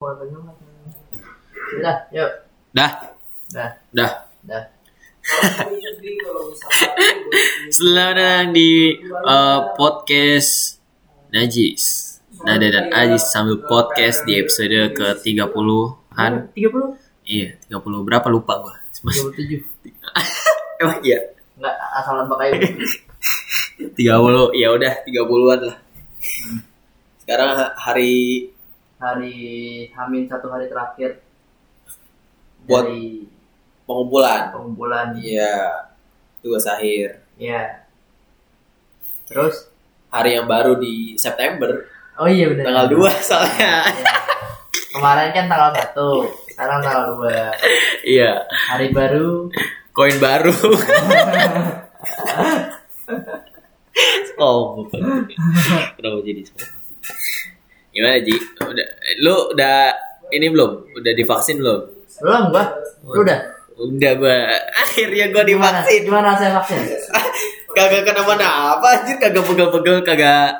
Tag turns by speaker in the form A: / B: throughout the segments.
A: Bola Bandung apa? Udah, yuk.
B: Dah,
A: Dah,
B: dah.
A: dah.
B: Selamat datang di eh, podcast Najis. Nada dan Ajis sambil podcast di episode ke-30-an.
A: 30? 37.
B: Iya, 30 berapa lupa gua. Cuma emang iya.
A: Enggak asal nembak aja.
B: 30, ya udah 30-an lah. Sekarang ha- hari
A: Hari Hamin satu hari terakhir
B: Buat-
A: dari
B: pengumpulan.
A: pengumpulan. Iya.
B: Iya. Tugas akhir.
A: Terus?
B: Hari yang baru di September,
A: Oh iya benar.
B: tanggal 2 soalnya.
A: Iya. Kemarin kan tanggal 1, sekarang tanggal 2.
B: Iya,
A: Hari baru
B: koin baru. oh, bukan. Kenapa jadi sombong? Gimana Ji? Udah, lu udah ini belum? Udah divaksin belum?
A: belum gua. Lu udah?
B: Udah gua akhirnya gua
A: Gimana?
B: divaksin.
A: Gimana rasanya vaksin?
B: kagak kenapa-napa anjir, kagak pegel-pegel, kagak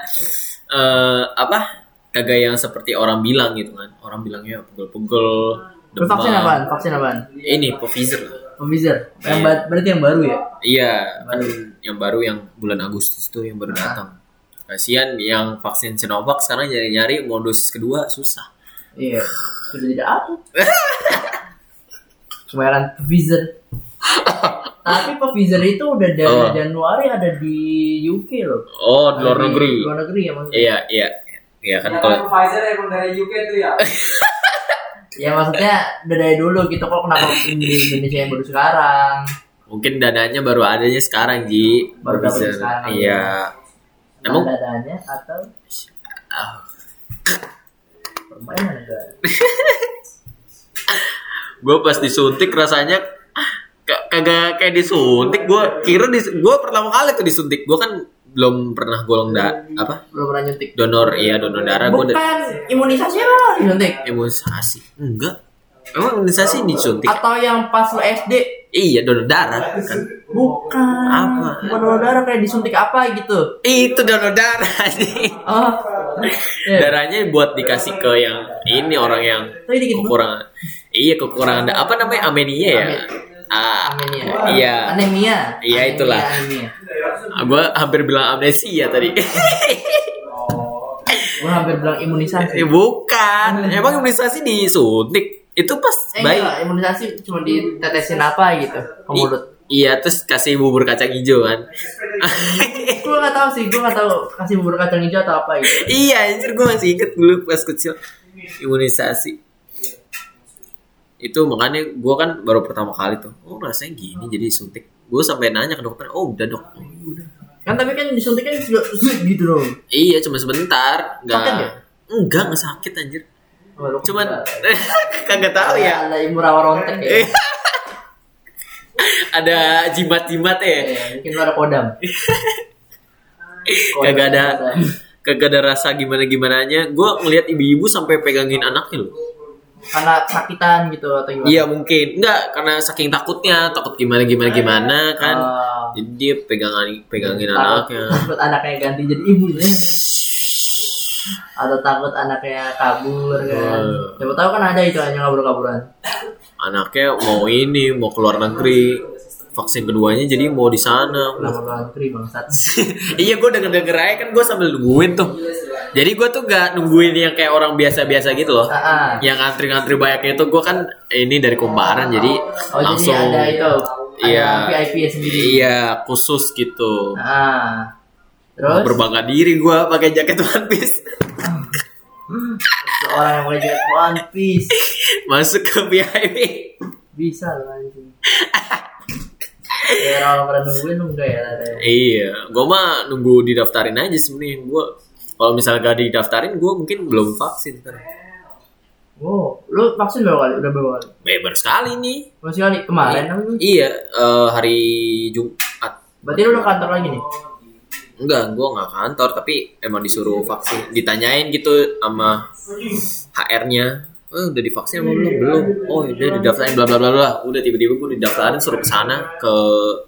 B: eh apa? Kagak yang seperti orang bilang gitu kan. Orang bilangnya pegel-pegel.
A: Lu
B: demam.
A: vaksin apaan? Vaksin apaan?
B: Ini Pfizer lah.
A: Pfizer. Yang
B: Iya.
A: ba- berarti yang baru ya?
B: Iya, kan yang baru Nah. yang bulan Agustus tuh yang baru datang. Kasihan yang vaksin Sinovac sekarang nyari-nyari mau dosis kedua susah.
A: Iya. Sudah tidak apa. Kemarin Pfizer. Tapi Pfizer itu udah dari
B: Oh.
A: Januari ada di UK loh.
B: Oh, di
A: Ada
B: luar
A: di
B: negeri.
A: Luar negeri ya maksudnya.
B: Iya, iya. Iya kan
C: Ya
B: kalau
C: kan Pfizer emang dari UK tuh ya.
A: Ya maksudnya udah dari dulu gitu kok kenapa di Indonesia yang baru sekarang.
B: mungkin dananya baru adanya sekarang Ji.
A: Baru dapat
B: Pfizer.
A: sekarang.
B: Iya. Emang
A: adanya atau
B: ah,
A: permainan enggak?
B: gue pas disuntik rasanya ah, ka- kagak kayak disuntik gue kira dis, gue pertama kali tuh disuntik gue kan belum pernah golong da apa
A: Belum pernah nyuntik.
B: donor iya donor darah gue
A: Bukan imunisasi apa disuntik?
B: imunisasi enggak emang imunisasi disuntik
A: Atau yang pas lu SD?
B: iya donor darah kan
A: Bukan.
B: Apa?
A: Bukan donor darah kayak disuntik apa gitu.
B: itu donor darah anjing.
A: Oh. Iya.
B: darahnya buat dikasih ke yang ini orang yang
A: Tapi dikit banget.
B: kekurangan iya kekurangan da- apa namanya anemia ya
A: Amin.
B: ah
A: Anemia.
B: iya
A: Anemia.
B: Iya,
A: Anemia,
B: itulah.
A: Anemia.
B: gue Ah, hampir bilang amnesia tadi
A: Gua hampir bilang imunisasi.
B: Eh, bukan emang imunisasi disuntik itu pas
A: Eh,
B: baik
A: enggak, imunisasi cuma ditetesin apa gitu ke
B: I-
A: mulut.
B: iya terus kasih bubur kacang hijau kan
A: Gua nggak tahu sih, gua nggak tahu kasih bubur kacang hijau atau apa gitu.
B: iya anjir gue masih inget dulu pas kecil imunisasi itu makanya gue kan baru pertama kali tuh oh rasanya gini jadi suntik gue sampai nanya ke dokter oh udah dok Oh, udah.
A: Kan tapi kan disuntiknya juga zut gitu loh.
B: iya cuma sebentar
A: Sakit ya? Oh,
B: nggak enggak nggak sakit anjir
A: Walaupun
B: cuman
A: nggak-
B: kagak tahu ya
A: Ada imurawa rontek ya.
B: Eh. ada jimat-jimat ya
A: Iya, mungkin lu ada kodam. Oh,
B: kagak
A: iya,
B: ada kagak ada rasa gimana gimananya gue ngeliat ibu-ibu sampai pegangin anaknya loh
A: Karena sakitan gitu atau gimana?
B: Iya mungkin enggak karena saking takutnya takut gimana gimana gimana kan
A: Ah.
B: jadi dia pegangan pegangin
A: Takut-
B: anaknya
A: takut anaknya ganti jadi ibunya atau takut anaknya kabur kan
B: Hmm.
A: siapa tahu kan ada itu hanya kabur kaburan
B: anaknya mau ini mau keluar negeri vaksin keduanya jadi mau di sana
A: pulang ke luar negeri bangsat
B: iya gue denger denger aja kan gue sambil nungguin tuh jadi gue tuh gak nungguin yang kayak orang biasa biasa gitu loh
A: Ah, ah.
B: yang ngantri ngantri banyaknya itu gue kan ini dari kumparan jadi
A: oh
B: langsung
A: jadi ada itu
B: Iya.
A: ada VIP -nya sendiri
B: iya khusus gitu
A: ah terus
B: berbangga diri gue pakai jaket one piece
A: orang yang mulai jadi One Piece
B: masuk ke VIP
A: bisa loh anjing ya orang pernah nungguin lu enggak ya ada
B: Iya, gue mah nunggu didaftarin aja sebenarnya. Gue kalau misalnya gak didaftarin, gue mungkin belum vaksin sekarang.
A: wow Oh, lu vaksin berapa kali udah berapa kali
B: Beber sekali nih.
A: masih kali kemarin kan apa lu?
B: Iya, eh, hari Jumat.
A: berarti lu udah kantor lagi nih
B: Enggak, gue nggak kantor, tapi emang disuruh vaksin. Ditanyain gitu sama HR-nya. Eh, udah divaksin apa belum? Belum. Oh, udah didaftarin bla bla bla bla. Udah tiba-tiba gue didaftarin suruh ke sana ke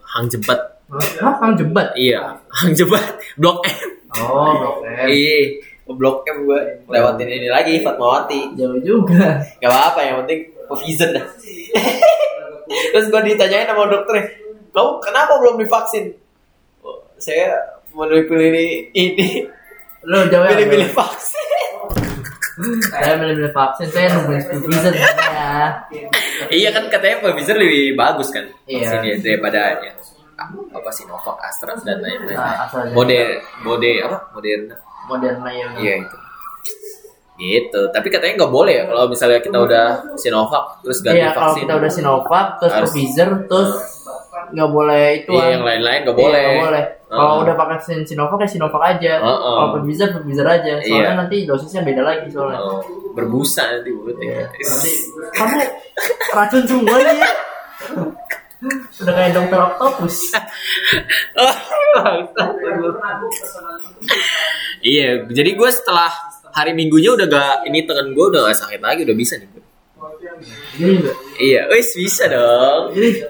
B: Hang Jebat.
A: Hah? Hah, Kang Jebat?
B: Iya, Hang Jebat Blok M.
A: Oh, oke.
B: Iya, Blok M gue lewatin ini lagi Fatmawati.
A: jauh juga
B: Gak apa-apa yang penting Pfizer dah. Terus gue ditanyain sama dokternya, kamu kenapa belum divaksin? "Oh, Saya memenuhi pilih ini,
D: Iya,
A: lu jauh ya
B: pilih-pilih vaksin.
A: saya milih-milih vaksin saya nungguin supervisor ya
D: Iya kan katanya Pfizer lebih bagus kan
A: Iya.
D: vaksinnya daripada ya, apa Sinovac, Astra dan lain-lain.
A: Nah, AstraZeneca.
D: Mode mode apa? Moderna.
A: modern yang
D: Iya itu. Gitu. Tapi katanya nggak boleh ya kalau misalnya kita udah Sinovac terus ganti
A: Hmm. Iya, kalau
D: vaksin.
A: kita udah Sinovac, terus
D: Harus.
A: Pfizer, terus nggak boleh itu.
D: Iya, yang lain-lain nggak
A: Iya,
D: boleh.
A: nggak boleh. Kalau
D: Heeh.
A: udah pakai vaksin Sinovac ya Sinovac aja.
D: Heeh.
A: Kalau Pfizer Pfizer aja. Soalnya
D: Iya.
A: nanti dosisnya beda lagi soalnya.
D: Oh, iya. berbusa ya. nanti
A: Iya.
D: mulutnya.
A: Kamu racun semua ya. Udah kayak dokter octopus.
D: Iya, jadi gue setelah hari minggunya udah gak ini tangan gue udah gak sakit lagi udah bisa nih. gua.
A: Gini nggak?
D: Iya, wis bisa dong.
A: Gini.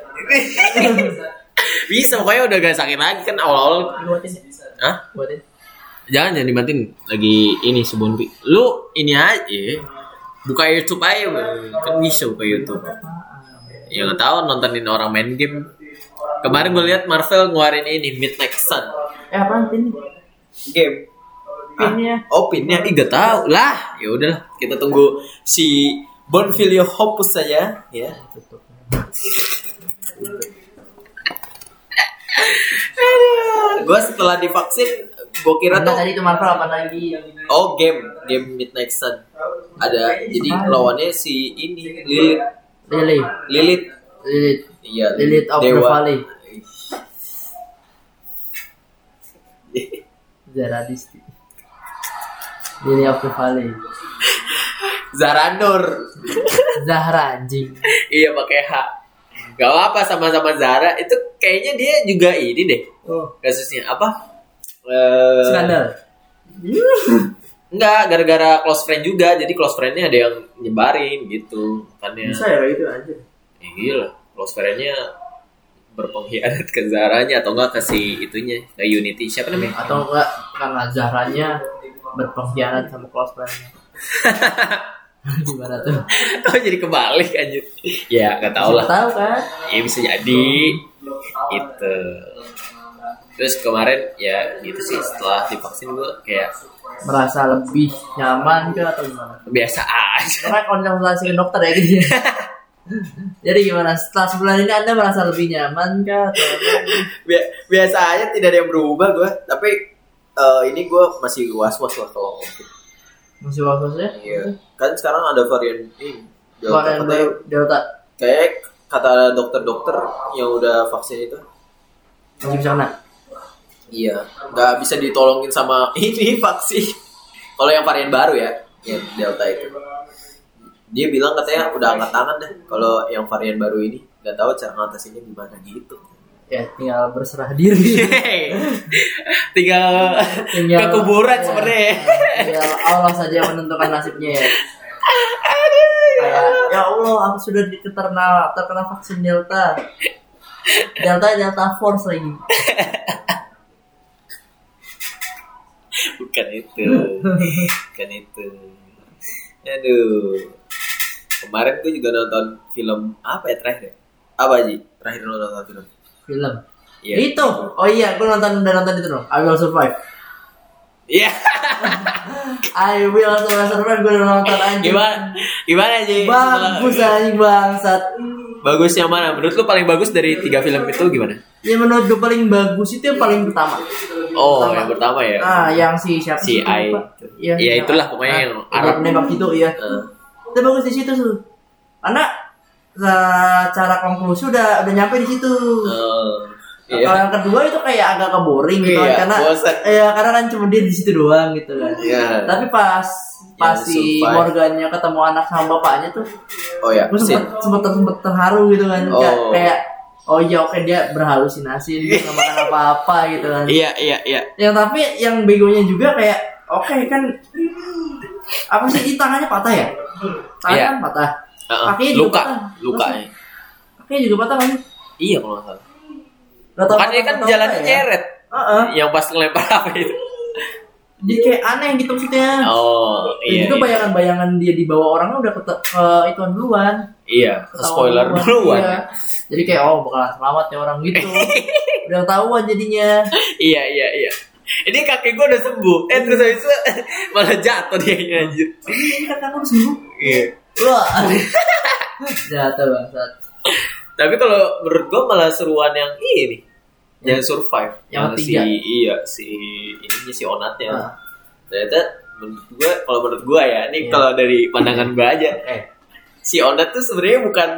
D: Bisa pokoknya udah gak sakit lagi kan awal-awal.
A: Buatin.
D: Hah?
A: Buatin.
D: Jangan jangan dimatiin lagi ini sebelum pi. Lu ini aja buka YouTube aja Bang. kan bisa buka YouTube. Ya nggak tahu nontonin orang main game. Kemarin gue lihat Marvel ngeluarin ini Midnight Sun.
A: Eh apaan pin?
B: Game.
D: Ah,
B: Ah.
A: Pinnya.
D: oh,
B: Opinnya
D: Tapi gak tahu lah. Ya udahlah kita tunggu si
B: Bonfilio Hopus saja, ya. gue setelah divaksin, gue kira
A: Enggak
B: tuh
A: tadi itu Marvel apa lagi?
B: oh game, game Midnight Sun. Ada jadi lawannya si ini Lilith,
A: Lily.
B: Lilith,
A: Lily.
B: iya
A: Lilith of the
B: dewa.
A: Valley. Zaradisti. Lily of the Valley.
B: Zaranur.
A: Zahra anjing.
B: Iya pakai H. Gak apa sama-sama Zara itu kayaknya dia juga ini deh
A: Oh.
B: kasusnya apa? Eh,
A: Skandal.
B: Enggak, gara-gara close friend juga. Jadi close friendnya ada yang nyebarin gitu. Makanya
A: ya kayak gitu anjir.
B: ya gila, close friendnya berpengkhianat ke Zaranya atau enggak ke si itunya, ke Unity. Siapa namanya?
A: Atau enggak karena Zahranya berpengkhianat sama close friend-nya. Gimana tuh?
B: Oh, jadi kebalik anjir.
D: ya nggak tahu lah.
A: Tahu kan?
D: Ya
B: Iya,
D: bisa jadi itu.
B: Gitu. Terus kemarin ya gitu sih setelah divaksin gue kayak
A: Merasa lebih nyaman ke atau gimana?
B: biasa aja.
A: Karena konsultasi ke dokter ya gitu. ya. Jadi gimana? Setelah sebulan ini Anda merasa lebih nyaman kah? Atau
B: Bi- biasa aja tidak ada yang berubah gue tapi eh, ini gue masih was was lah kalau covid
A: masih waktu ya?
B: iya kan sekarang ada varian ini Delta,
A: Varian
B: katanya-
A: Delta
B: kayak kata dokter-dokter yang udah vaksin itu
A: masih bisa kena.
B: iya nggak bisa ditolongin sama ini vaksin kalau yang varian baru ya yang delta itu dia bilang katanya udah angkat tangan deh kalau yang varian baru ini nggak tahu cara ngatasinnya gimana gitu
A: Ya tinggal berserah diri.
D: Tinggal
A: Tinggal-
D: kekuburan
A: iya.
D: sebenarnya. ya.
A: Tinggal Allah saja menentukan nasibnya ya. Kayak, ya Allah, aku sudah di- terkena terkena vaksin Delta. Delta Delta Force lagi.
B: bukan itu bukan itu aduh kemarin gue juga nonton film apa ya terakhir ya? apa Ji? terakhir lo nonton film
A: Film.
B: iya
A: Itu. Oh iya, gue nonton udah nonton itu dong. I Will Survive.
B: iya
A: I Will Survive gue udah nonton anjing.
B: gimana gimana Ji?
A: Bagus anjing bangsat.
B: bagusnya mana menurut lu paling bagus dari tiga film itu gimana
A: Yang Ya, menurut gue paling bagus itu yang paling pertama.
B: oh
A: Pertama.
B: yang pertama ya
A: Ah, yang si siapa sih,
B: Si Ai.
A: lupa.
B: Iya, itulah pokoknya yang Arab.
A: Arab Ah, nembak gitu ya.
B: Eh,
A: Itu bagus di situ tuh. Karena eh, cara konklusi udah udah nyampe di situ.
B: eh,
A: Kalau
B: iya
A: yang kedua itu kayak agak ke boring gitu kan,
B: Iya,
A: karena
B: bosan.
A: ya karena kan cuma dia di situ doang gitu kan.
B: Iya.
A: Tapi pas pas
B: Yang
A: si
B: survive.
A: Morgannya ketemu anak sama bapaknya tuh,
B: oh ya
A: gue
B: sin
A: sempet sempet, sempet terharu gitu kan, Kayak-
B: Oh.
A: kayak oh iya oke dia berhalusinasi dia nggak makan apa-apa gitu kan.
B: iya iya iya
A: yang tapi yang begonya juga kayak oke kan apa sih ini tangannya patah ya tangan
B: Iya.
A: kan patah
B: Heeh,
A: kakinya juga kan?
B: luka
A: patah
B: luka
A: Masa- kakinya juga patah kan
B: iya kalau nggak salah
A: Gak ya?
B: kan dia kan jalannya nyeret
A: Heeh.
B: yang pas ngelempar apa itu
A: dia kayak aneh gitu maksudnya
B: Oh iya.
A: itu
B: iya.
A: bayangan-bayangan dia dibawa orangnya udah ke, ke ituan duluan
B: Iya,
A: ketahuan
B: spoiler duluan.
A: Iya. jadi kayak oh bakalan selamat ya orang gitu udah ketahuan jadinya
B: Iya, iya, iya. Ini kakek gue udah sembuh. Eh terus habis itu malah jatuh dia ini, anjir.
A: ini kan kamu sembuh
B: Iya.
A: lo jatuh banget
B: Tapi kalau menurut gue malah seruan yang ini. Yang survive.
A: Hmm. Yang
B: si
A: ketiga.
B: iya si ininya si onatnya.
A: Ah.
B: Ternyata menurut gue kalau menurut gue ya, ini
A: Iya.
B: kalau dari pandangan gue aja,
A: eh
B: si onat tuh sebenarnya bukan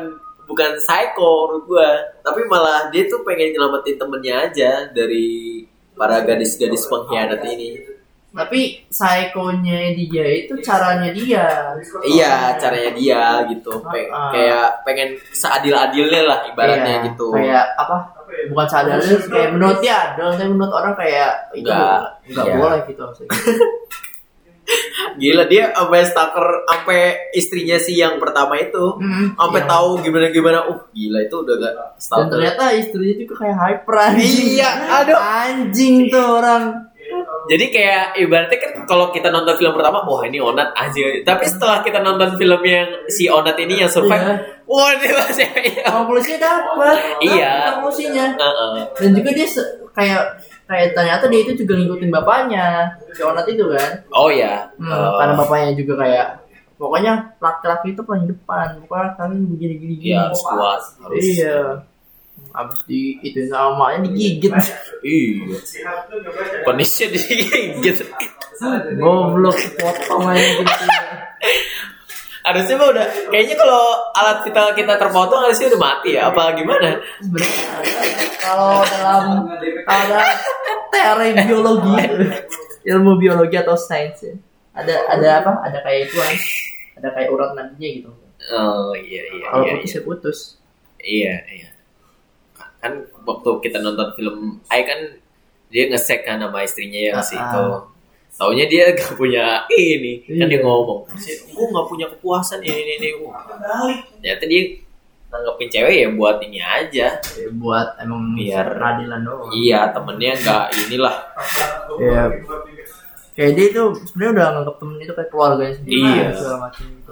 B: bukan psycho menurut gue, tapi malah dia tuh pengen nyelamatin temennya aja dari para
A: Ah.
B: gadis-gadis pengkhianat ini.
A: tapi psikonya dia itu caranya dia
E: Iya, caranya dia gitu. Pe-
A: Ah.
E: Kayak pengen seadil-adilnya lah ibaratnya
A: Iya,
E: gitu.
A: kayak apa bukan sadar kayak menurut dia dong tapi menurut orang kayak itu
E: Nggak.
A: nggak
E: Iya.
A: boleh gitu maksudnya.
E: Gila dia sampai stalker sampai istrinya si yang pertama itu
A: Mm,
E: sampai
A: iya.
E: tahu gimana gimana. Uh, gila itu udah gak
A: dan
E: stalker.
A: ternyata istrinya juga kayak hyper anjing.
B: Iya, aduh.
A: anjing tuh orang
B: Jadi kayak ibaratnya kan kalau kita nonton film pertama, wah ini Onat aja. Tapi
A: Hmm.
B: setelah kita nonton film yang si Onat ini yang
A: Iya.
B: survive, wah ini masih
A: konklusinya dapat
B: Iya.
A: Dapat konklusinya
B: Heeh.
A: dan juga dia se- kayak kayak ternyata dia itu juga ngikutin bapaknya si Onat itu kan
B: Oh ya.
A: Hmm,
B: Eh,
A: karena bapaknya juga kayak pokoknya laki-laki itu paling depan pokoknya kalian begini gini gini
B: Iya harus kuat. Harus.
A: iya abis di itu sama emaknya digigit
B: Iya. Penisnya digigit.
A: goblok potong aja gitu
B: Harusnya mah udah. Kayaknya kalau alat vital kita terpotong harusnya udah mati ya. Apa gimana?
A: sebenarnya kalau dalam kalau dalam teori biologi ilmu biologi atau sains ya ada ada apa ada kayak itu ada kayak urat nadinya gitu
B: Oh iya iya
A: kalau
B: iya
A: putus
B: iya.
A: ya putus
B: Iya iya. Kan waktu kita nonton film Ai kan dia ngesek kan sama istrinya yang
A: Ah.
B: si itu. Taunya dia gak punya ini kan dia
A: Iya.
B: ngomong. Gue gak punya kepuasan ini ini ini. Wah. Ternyata dia nanggepin cewek ya buat ini aja.
A: Ya, buat emang
B: iya. Biar-
A: peradilan doang
B: Iya temennya gak inilah.
A: Iya. kayak dia itu sebenarnya udah nganggap temen itu kayak keluarganya sendiri
B: Iya.
A: segala macam gitu.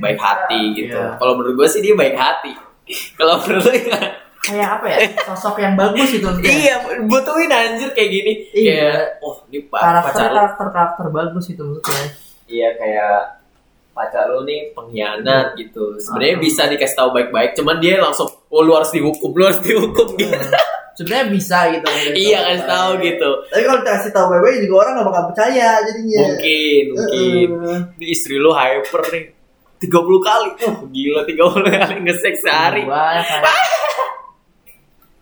B: baik hati gitu.
A: Iya.
B: Kalau menurut gue sih dia baik hati. Kalau menurut lo gimana?
A: kayak apa ya sosok yang bagus itu maksudnya.
B: Iya, butuhin anjir kayak gini.
A: Iya.
B: Kayak, oh ini pa-
A: karakter
B: pacar lo.
A: karakter karakter bagus itu maksudnya
B: Iya kayak pacar lo nih pengkhianat gitu. Sebenarnya
A: Ah.
B: bisa dikasih tahu baik-baik, cuman dia langsung, oh lu harus dihukum, lu harus dihukum
A: Iya.
B: gitu.
A: Eh, sebenarnya bisa gitu
B: iya kasih tahu gitu.
A: tapi kalau dikasih tahu baik juga orang gak bakal percaya jadinya Eh,
B: Mungkin,
A: Iya.
B: mungkin. Ini istri lu hyper nih. 30 kali. Oh, gila 30 kali ngesek sehari.
A: Wah,
B: Ah!
A: kayak-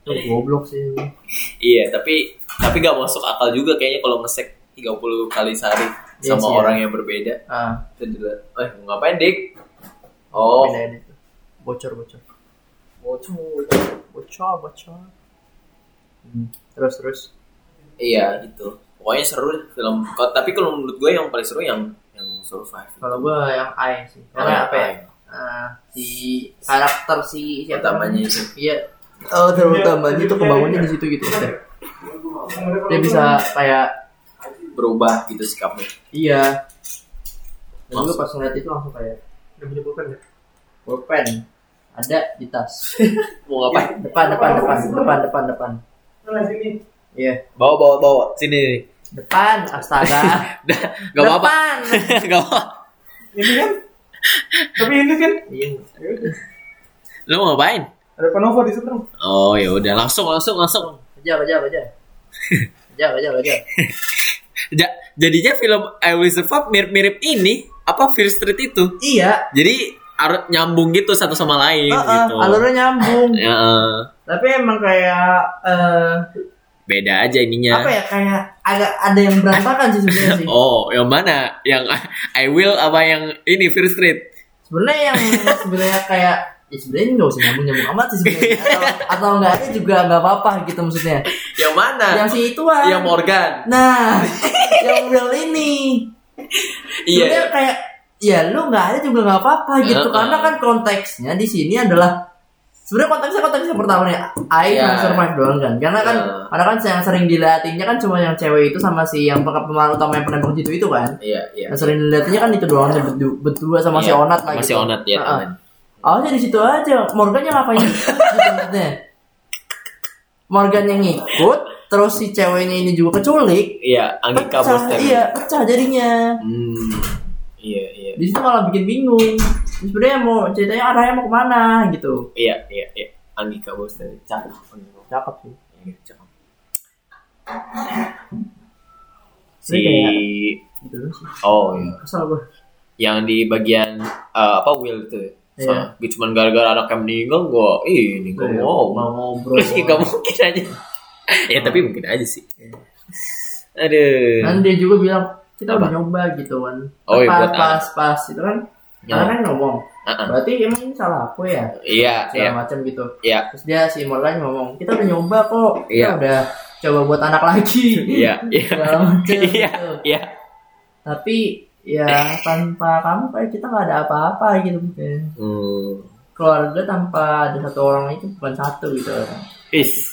A: Itu ya, kan. goblok sih
B: Iya, tapi tapi gak masuk akal juga kayaknya kalau ngesek 30 kali sehari
A: Iya
B: sama
A: sih, ya.
B: orang yang berbeda.
A: ah
B: Itu juga, eh mau ngapain dik? Oh,
A: bedain itu bocor bocor
B: bocor.
A: bocor bocor Hmm, terus terus
B: Iya gitu. Pokoknya seru deh film. Ko- Tapi kalau menurut gue yang paling seru yang yang survive.
A: kalau gua yang I sih
B: Yang
A: karena apa ya
B: I.
A: Ah, si karakter si siapa namanya?
B: Utamanya itu.
A: iya oh terutamanya itu kebangunnya di situ gitu maksudnya. dia bisa kayak
B: Berubah gitu sikapnya.
A: iya dan
B: Langsung.
A: gue pas ngeliat itu langsung kayak udah punya pulpen ya pulpen ada di tas
B: Mau ngapain?
A: depan depan depan depan depan depan
F: Nah,
A: iya
B: Bawa bawa bawa sini.
A: depan astaga
B: Gak apa-apa.
A: depan
B: Gak apa.
F: ini kan tapi ini kan
A: iya
B: Lu mau ngapain?
F: ada Panova di situ
B: Oh ya udah langsung langsung langsung.
A: aja aja aja aja aja aja
B: Ja- jadinya film I Will Survive mirip-mirip ini apa Fear Street itu.
A: iya
B: Jadi harus nyambung gitu satu sama lain
A: uh, uh,
B: gitu.
A: alurnya nyambung
B: Ya, eh,
A: tapi emang kayak eh,
B: beda aja ininya.
A: apa ya kayak agak ada yang berantakan sih sebenarnya sih
B: Oh, yang mana? Yang I Will apa yang ini Fear Street?
A: sebenarnya yang sebenarnya kayak ya sebenarnya nggak usah nyambung nyambung amat sih sebenarnya atau, atau nggak ada juga nggak apa-apa gitu maksudnya
B: Yang mana?
A: yang si itu ah
B: Yang Morgan.
A: nah yang real ini
B: Iya. Ah,
A: sebenarnya kayak ya lu nggak ada juga nggak apa-apa gitu
B: Heeh.
A: karena kan konteksnya di sini adalah sebenarnya konteksnya konteks yang pertama nih I
E: Iya.
B: Ya.
A: can survive doang kan karena kan
E: Iya.
A: karena kan yang sering dilatihnya kan cuma yang cewek itu sama si yang pemain utama yang penembak jitu itu kan
E: Iya, iya.
A: yang sering dilatihnya kan itu doang tuh, berdu- berdua sama si
B: Iya,
A: Onat lah gitu.
B: sama si Onat, iya,
A: Heeh.
B: temen.
A: awalnya di situ aja Morgan yang ngapain gitu maksudnya. Morgan yang ngikut terus si ceweknya ini juga keculik
B: Iya,
A: pecah
B: Anggika Bostem.
A: iya pecah jadinya
B: Hmm. Iya, iya.
A: di situ malah bikin bingung Terus sebenarnya mau ceritanya arahnya mau kemana gitu
B: Iya, iya, iya. Anggika Bostem. Cakep.
A: cakep sih
B: Iya, cakep. Si
A: Ini kayak- gitu doang sih
B: Oh iya.
A: kesel gue
B: Yang di bagian eh, apa Will itu. ya?
A: Iya.
B: Soalnya gue cuman gara-gara anaknya meninggal gue ini gue
A: Iya,
B: mau.
A: mau ngobrol
B: Gak mungkin aja. ya tapi mungkin aja sih.
A: Iya.
B: Aduh.
A: dan dia juga bilang kita udah
B: Apa?
A: nyoba gitu kan
B: Oh, iya,
A: Apa,
B: buat
A: pas pas itu kan
B: Ya.
A: karena kan ngomong
B: Ah, ah.
A: berarti emang ini salah aku ya
B: Iya,
A: segala
B: iya,
A: macam gitu
B: iya.
A: terus dia si Morgan ngomong kita udah nyoba kok kita
B: Iya.
A: udah coba buat anak lagi
B: Iya, iya.
A: segala macam
B: Iya,
A: gitu.
B: iya.
A: tapi ya tanpa kamu kayak kita nggak ada apa-apa gitu mungkin
B: Hmm.
A: keluarga tanpa ada satu orang itu bukan satu gitu
B: Is.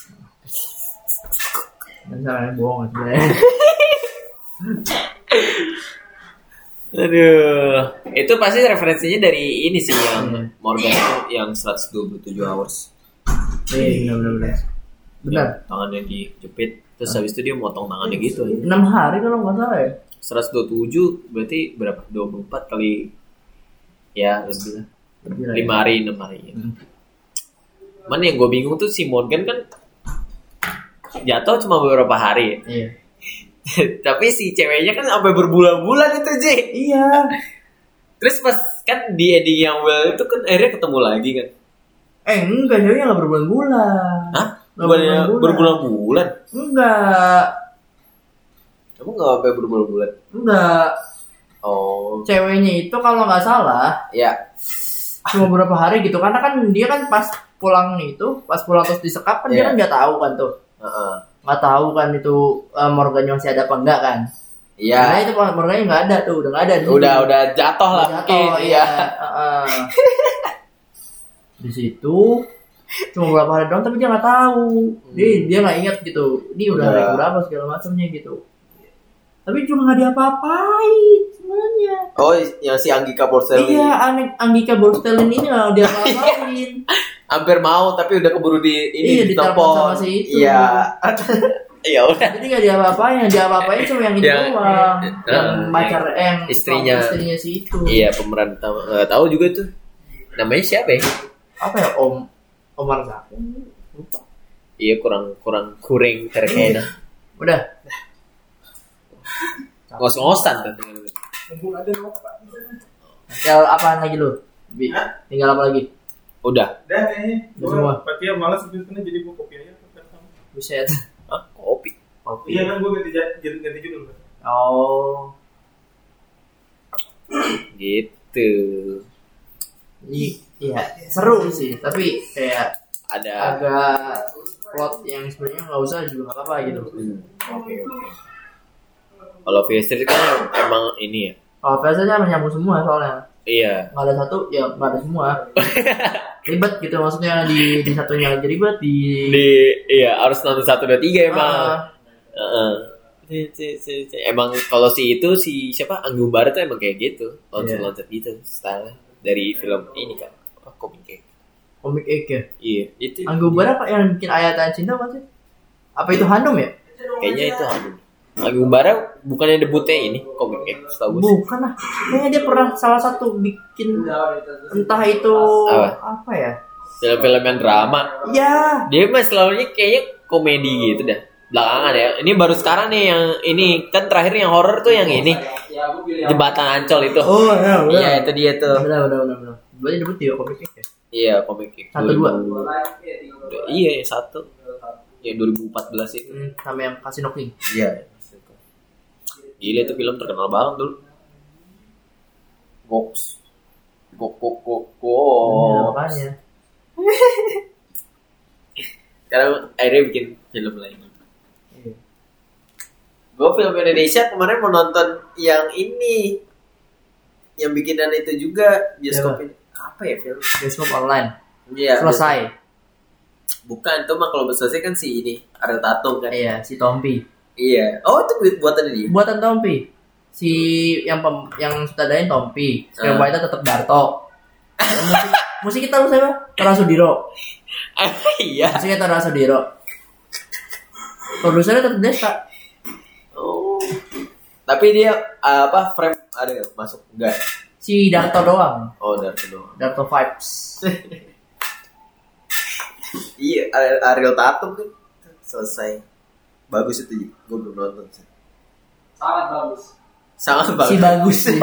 A: dan salahnya bohong sebenarnya
B: Aduh. Hmm. Itu pasti referensinya dari ini sih yang Morgan itu yang 127 hours.
A: iya benar benar benar benar
B: Yang tangannya dijepit. Terus habis itu dia motong tangannya gitu.
A: enam hari kalau nggak salah ya
B: 127 berarti berapa? 24 kali ya lebih lah.
A: Gila, ya.
B: lima hari enam hari gitu. Cuman yang gue bingung tuh si Morgan kan jatuh cuma beberapa hari ya.
A: iya
B: tapi si ceweknya kan sampai berbulan-bulan itu Ji
A: iya
B: terus pas kan di ending yang well itu kan akhirnya ketemu lagi kan
A: eh enggak ceweknya nggak berbulan-bulan
B: Hah?
A: Nggak
B: Bukannya berbulan-bulan
A: enggak
E: Kamu nggak sampai berbulan-bulan?
A: enggak
E: Oh,
A: ceweknya itu kalau nggak salah
E: ya.
A: cuma beberapa hari gitu karena kan dia kan pas pulang itu pas pulang terus disekap kan dia
E: Iya.
A: kan nggak tahu kan tuh
E: Heeh.
A: nggak tahu kan itu eh, Morgan masih ada apa enggak kan karena
E: Iya.
A: itu Morgannya nggak ada tuh udah nggak ada di situ.
E: Udah udah jatuh lah
A: Udah
E: mungkin.
A: jatuh iya Heeh. di situ cuma berapa hari doang tapi dia nggak tahu dia
E: Hmm.
A: dia nggak ingat gitu ini udah hari
E: Udah.
A: berapa segala macamnya gitu tapi cuma nggak diapa-apain sebenarnya
E: Oh, yang si Anggika Porcel.
A: iya Ang- Anggika Borstelin ini nggak diapa-apain
E: Hampir mau tapi udah keburu di
A: Iya,
E: ini
A: ditelepon
E: ditelepon.
A: sama si itu.
E: Iya. Ya
B: Iya,
E: udah.
A: Jadi gak diapa-apain, yang diapa-apain cuma yang itu
B: Yang-
A: doang.
B: eh,
A: Yang
B: eh,
A: pacar eh, yang
B: istrinya.
A: istrinya si itu.
B: iya pemeran utama nggak tahu juga tuh namanya siapa ya
A: Apa ya Om Omar Zaki?
B: iya kurang kurang
A: Iya.
B: kuring terkena
A: Udah.
B: ngos-ngosan kan
F: Mumpung ada nama Pak.
A: Tinggal apaan lagi lu? Bi? Tinggal apa lagi?
B: udah
F: Udah kayaknya.
A: Udah semua.
F: Gua Patia malas itu karena jadi gua kopi aja.
A: Buset.
B: Hah? kopi
F: Iya kan gua ganti ja- ganti ganti judul. Pak.
A: Oh.
B: gitu
A: I- Iya, seru sih, tapi kayak
B: ada
A: agak plot yang sebenarnya nggak usah juga nggak apa-apa gitu.
B: Hmm, kalau Fierce kan emang ini ya
A: Kalau biasanya menyambung semua soalnya
B: iya
A: nggak ada satu ya nggak ada semua ribet gitu maksudnya di di satunya aja ribet di,
B: di iya harus nonton satu dua
A: Ah.
B: tiga emang Heeh. Si- si- si- si- emang kalau si itu si siapa Anggi Umbara tuh emang kayak gitu loncat loncat gitu style dari film ini kan apa komik kayak
A: komik Egg ya
B: iya itu
A: Anggubara apa yang bikin ayat ayat cinta apa sih? Apa itu Handom ya?
B: kayaknya itu Anggi Anggi Umbara bukannya debutnya ini komik kayak setahu gue sih.
A: Bukan lah. Kayaknya dia pernah salah satu bikin entah itu
B: Apa?
A: apa, ya?
B: film-film yang drama
A: Ya,
B: dia mah selalunya kayaknya komedi gitu dah belakangan ya ini baru sekarang nih yang ini kan terakhir yang horror tuh yang ini
C: Ya, aku pilih yang-
B: jembatan ancol itu
A: Oh, iya, benar.
B: iya itu dia tuh
A: benar benar benar benar. Berarti debut dia komik ya?
B: iya komik kayak
A: Satu dua.
B: 2000. Iya, satu. Ya 2014 itu.
A: Hmm, sama yang Casino King.
E: Iya.
B: Gila itu film terkenal banget dulu.
E: Goks. Gok gok gok
B: Oh.
A: Iya,
E: gok.
A: makanya.
B: Sekarang akhirnya bikin film lagi.
A: Iya.
E: Gue film Indonesia kemarin mau nonton yang ini. Yang bikinan itu juga bioskop ini. Apa ya film?
A: Bioskop online.
E: Iya.
A: Selesai.
B: Bukan, itu mah kalau selesai kan si ini ada tatung kan.
A: Iya, si Tompi.
B: Iya. Oh itu buat buatan dia.
A: Buatan Tompi. Si yang pem, yang sutradarain Tompi, screenwriter tetap Darto. Yang musik, musik kita lu siapa? Tora Sudiro.
B: Iya.
A: Musiknya Tora Sudiro. Produsernya tetap Desta.
B: Oh. Tapi dia uh, apa frame ada nggak masuk enggak?
A: Si Darto doang.
B: Oh dari doang.
A: Darto vibes.
B: Iya, Ariel, Ariel Tatum kan selesai. Bagus itu, Ji. gue belum nonton sih.
F: sangat bagus
B: Sangat
A: Si
B: bagus.
A: bagus sih.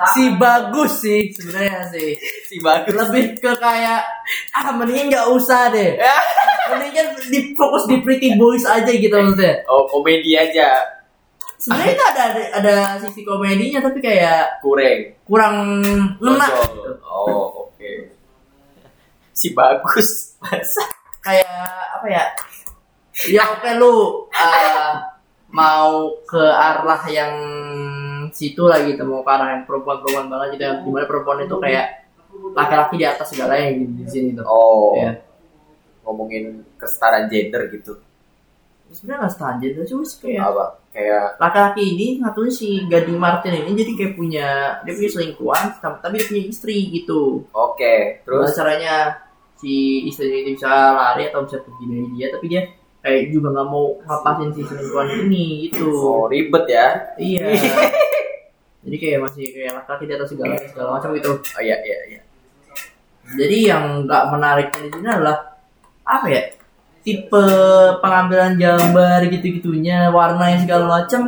A: si bagus sih sebenarnya sih.
B: Si bagus.
A: Lebih ke kayak ah mendingan nggak usah deh. mendingan di fokus di Pretty Boys aja gitu maksudnya.
B: Oh komedi aja
A: sebenarnya itu ada ada- ada sisi komedinya tapi kayak
B: kurang.
A: kurang ngena gitu.
B: Oh oke. Si bagus. Masa?
A: kayak apa ya ya oke lu eh, mau ke arah yang situ lagi gitu mau ke arah yang perempuan-perempuan banget gitu yang dimana perempuan itu kayak laki-laki di atas segalanya gitu di sini gitu
B: Oh
A: ya
B: ngomongin kesetaraan gender gitu.
A: sebenarnya nggak standar itu cuma sih kayak
B: Apa? Kayak
A: laki-laki ini ngatunya si Gading Martin ini jadi kayak punya dia punya selingkuhan tapi dia punya istri gitu
B: oke.
A: Terus
B: Terus
A: caranya si istrinya itu bisa lari atau bisa pergi dari dia tapi dia kayak juga nggak mau ngelepasin si selingkuhan ini gitu.
B: oh ribet ya.
A: Iya. Jadi kayak masih kayak laki-laki di atas segala segala macam gitu.
B: Oh iya iya iya.
A: Jadi yang nggak menariknya di sini adalah apa ya? Tipe pengambilan gambar gitu-gitunya, warnanya segala macam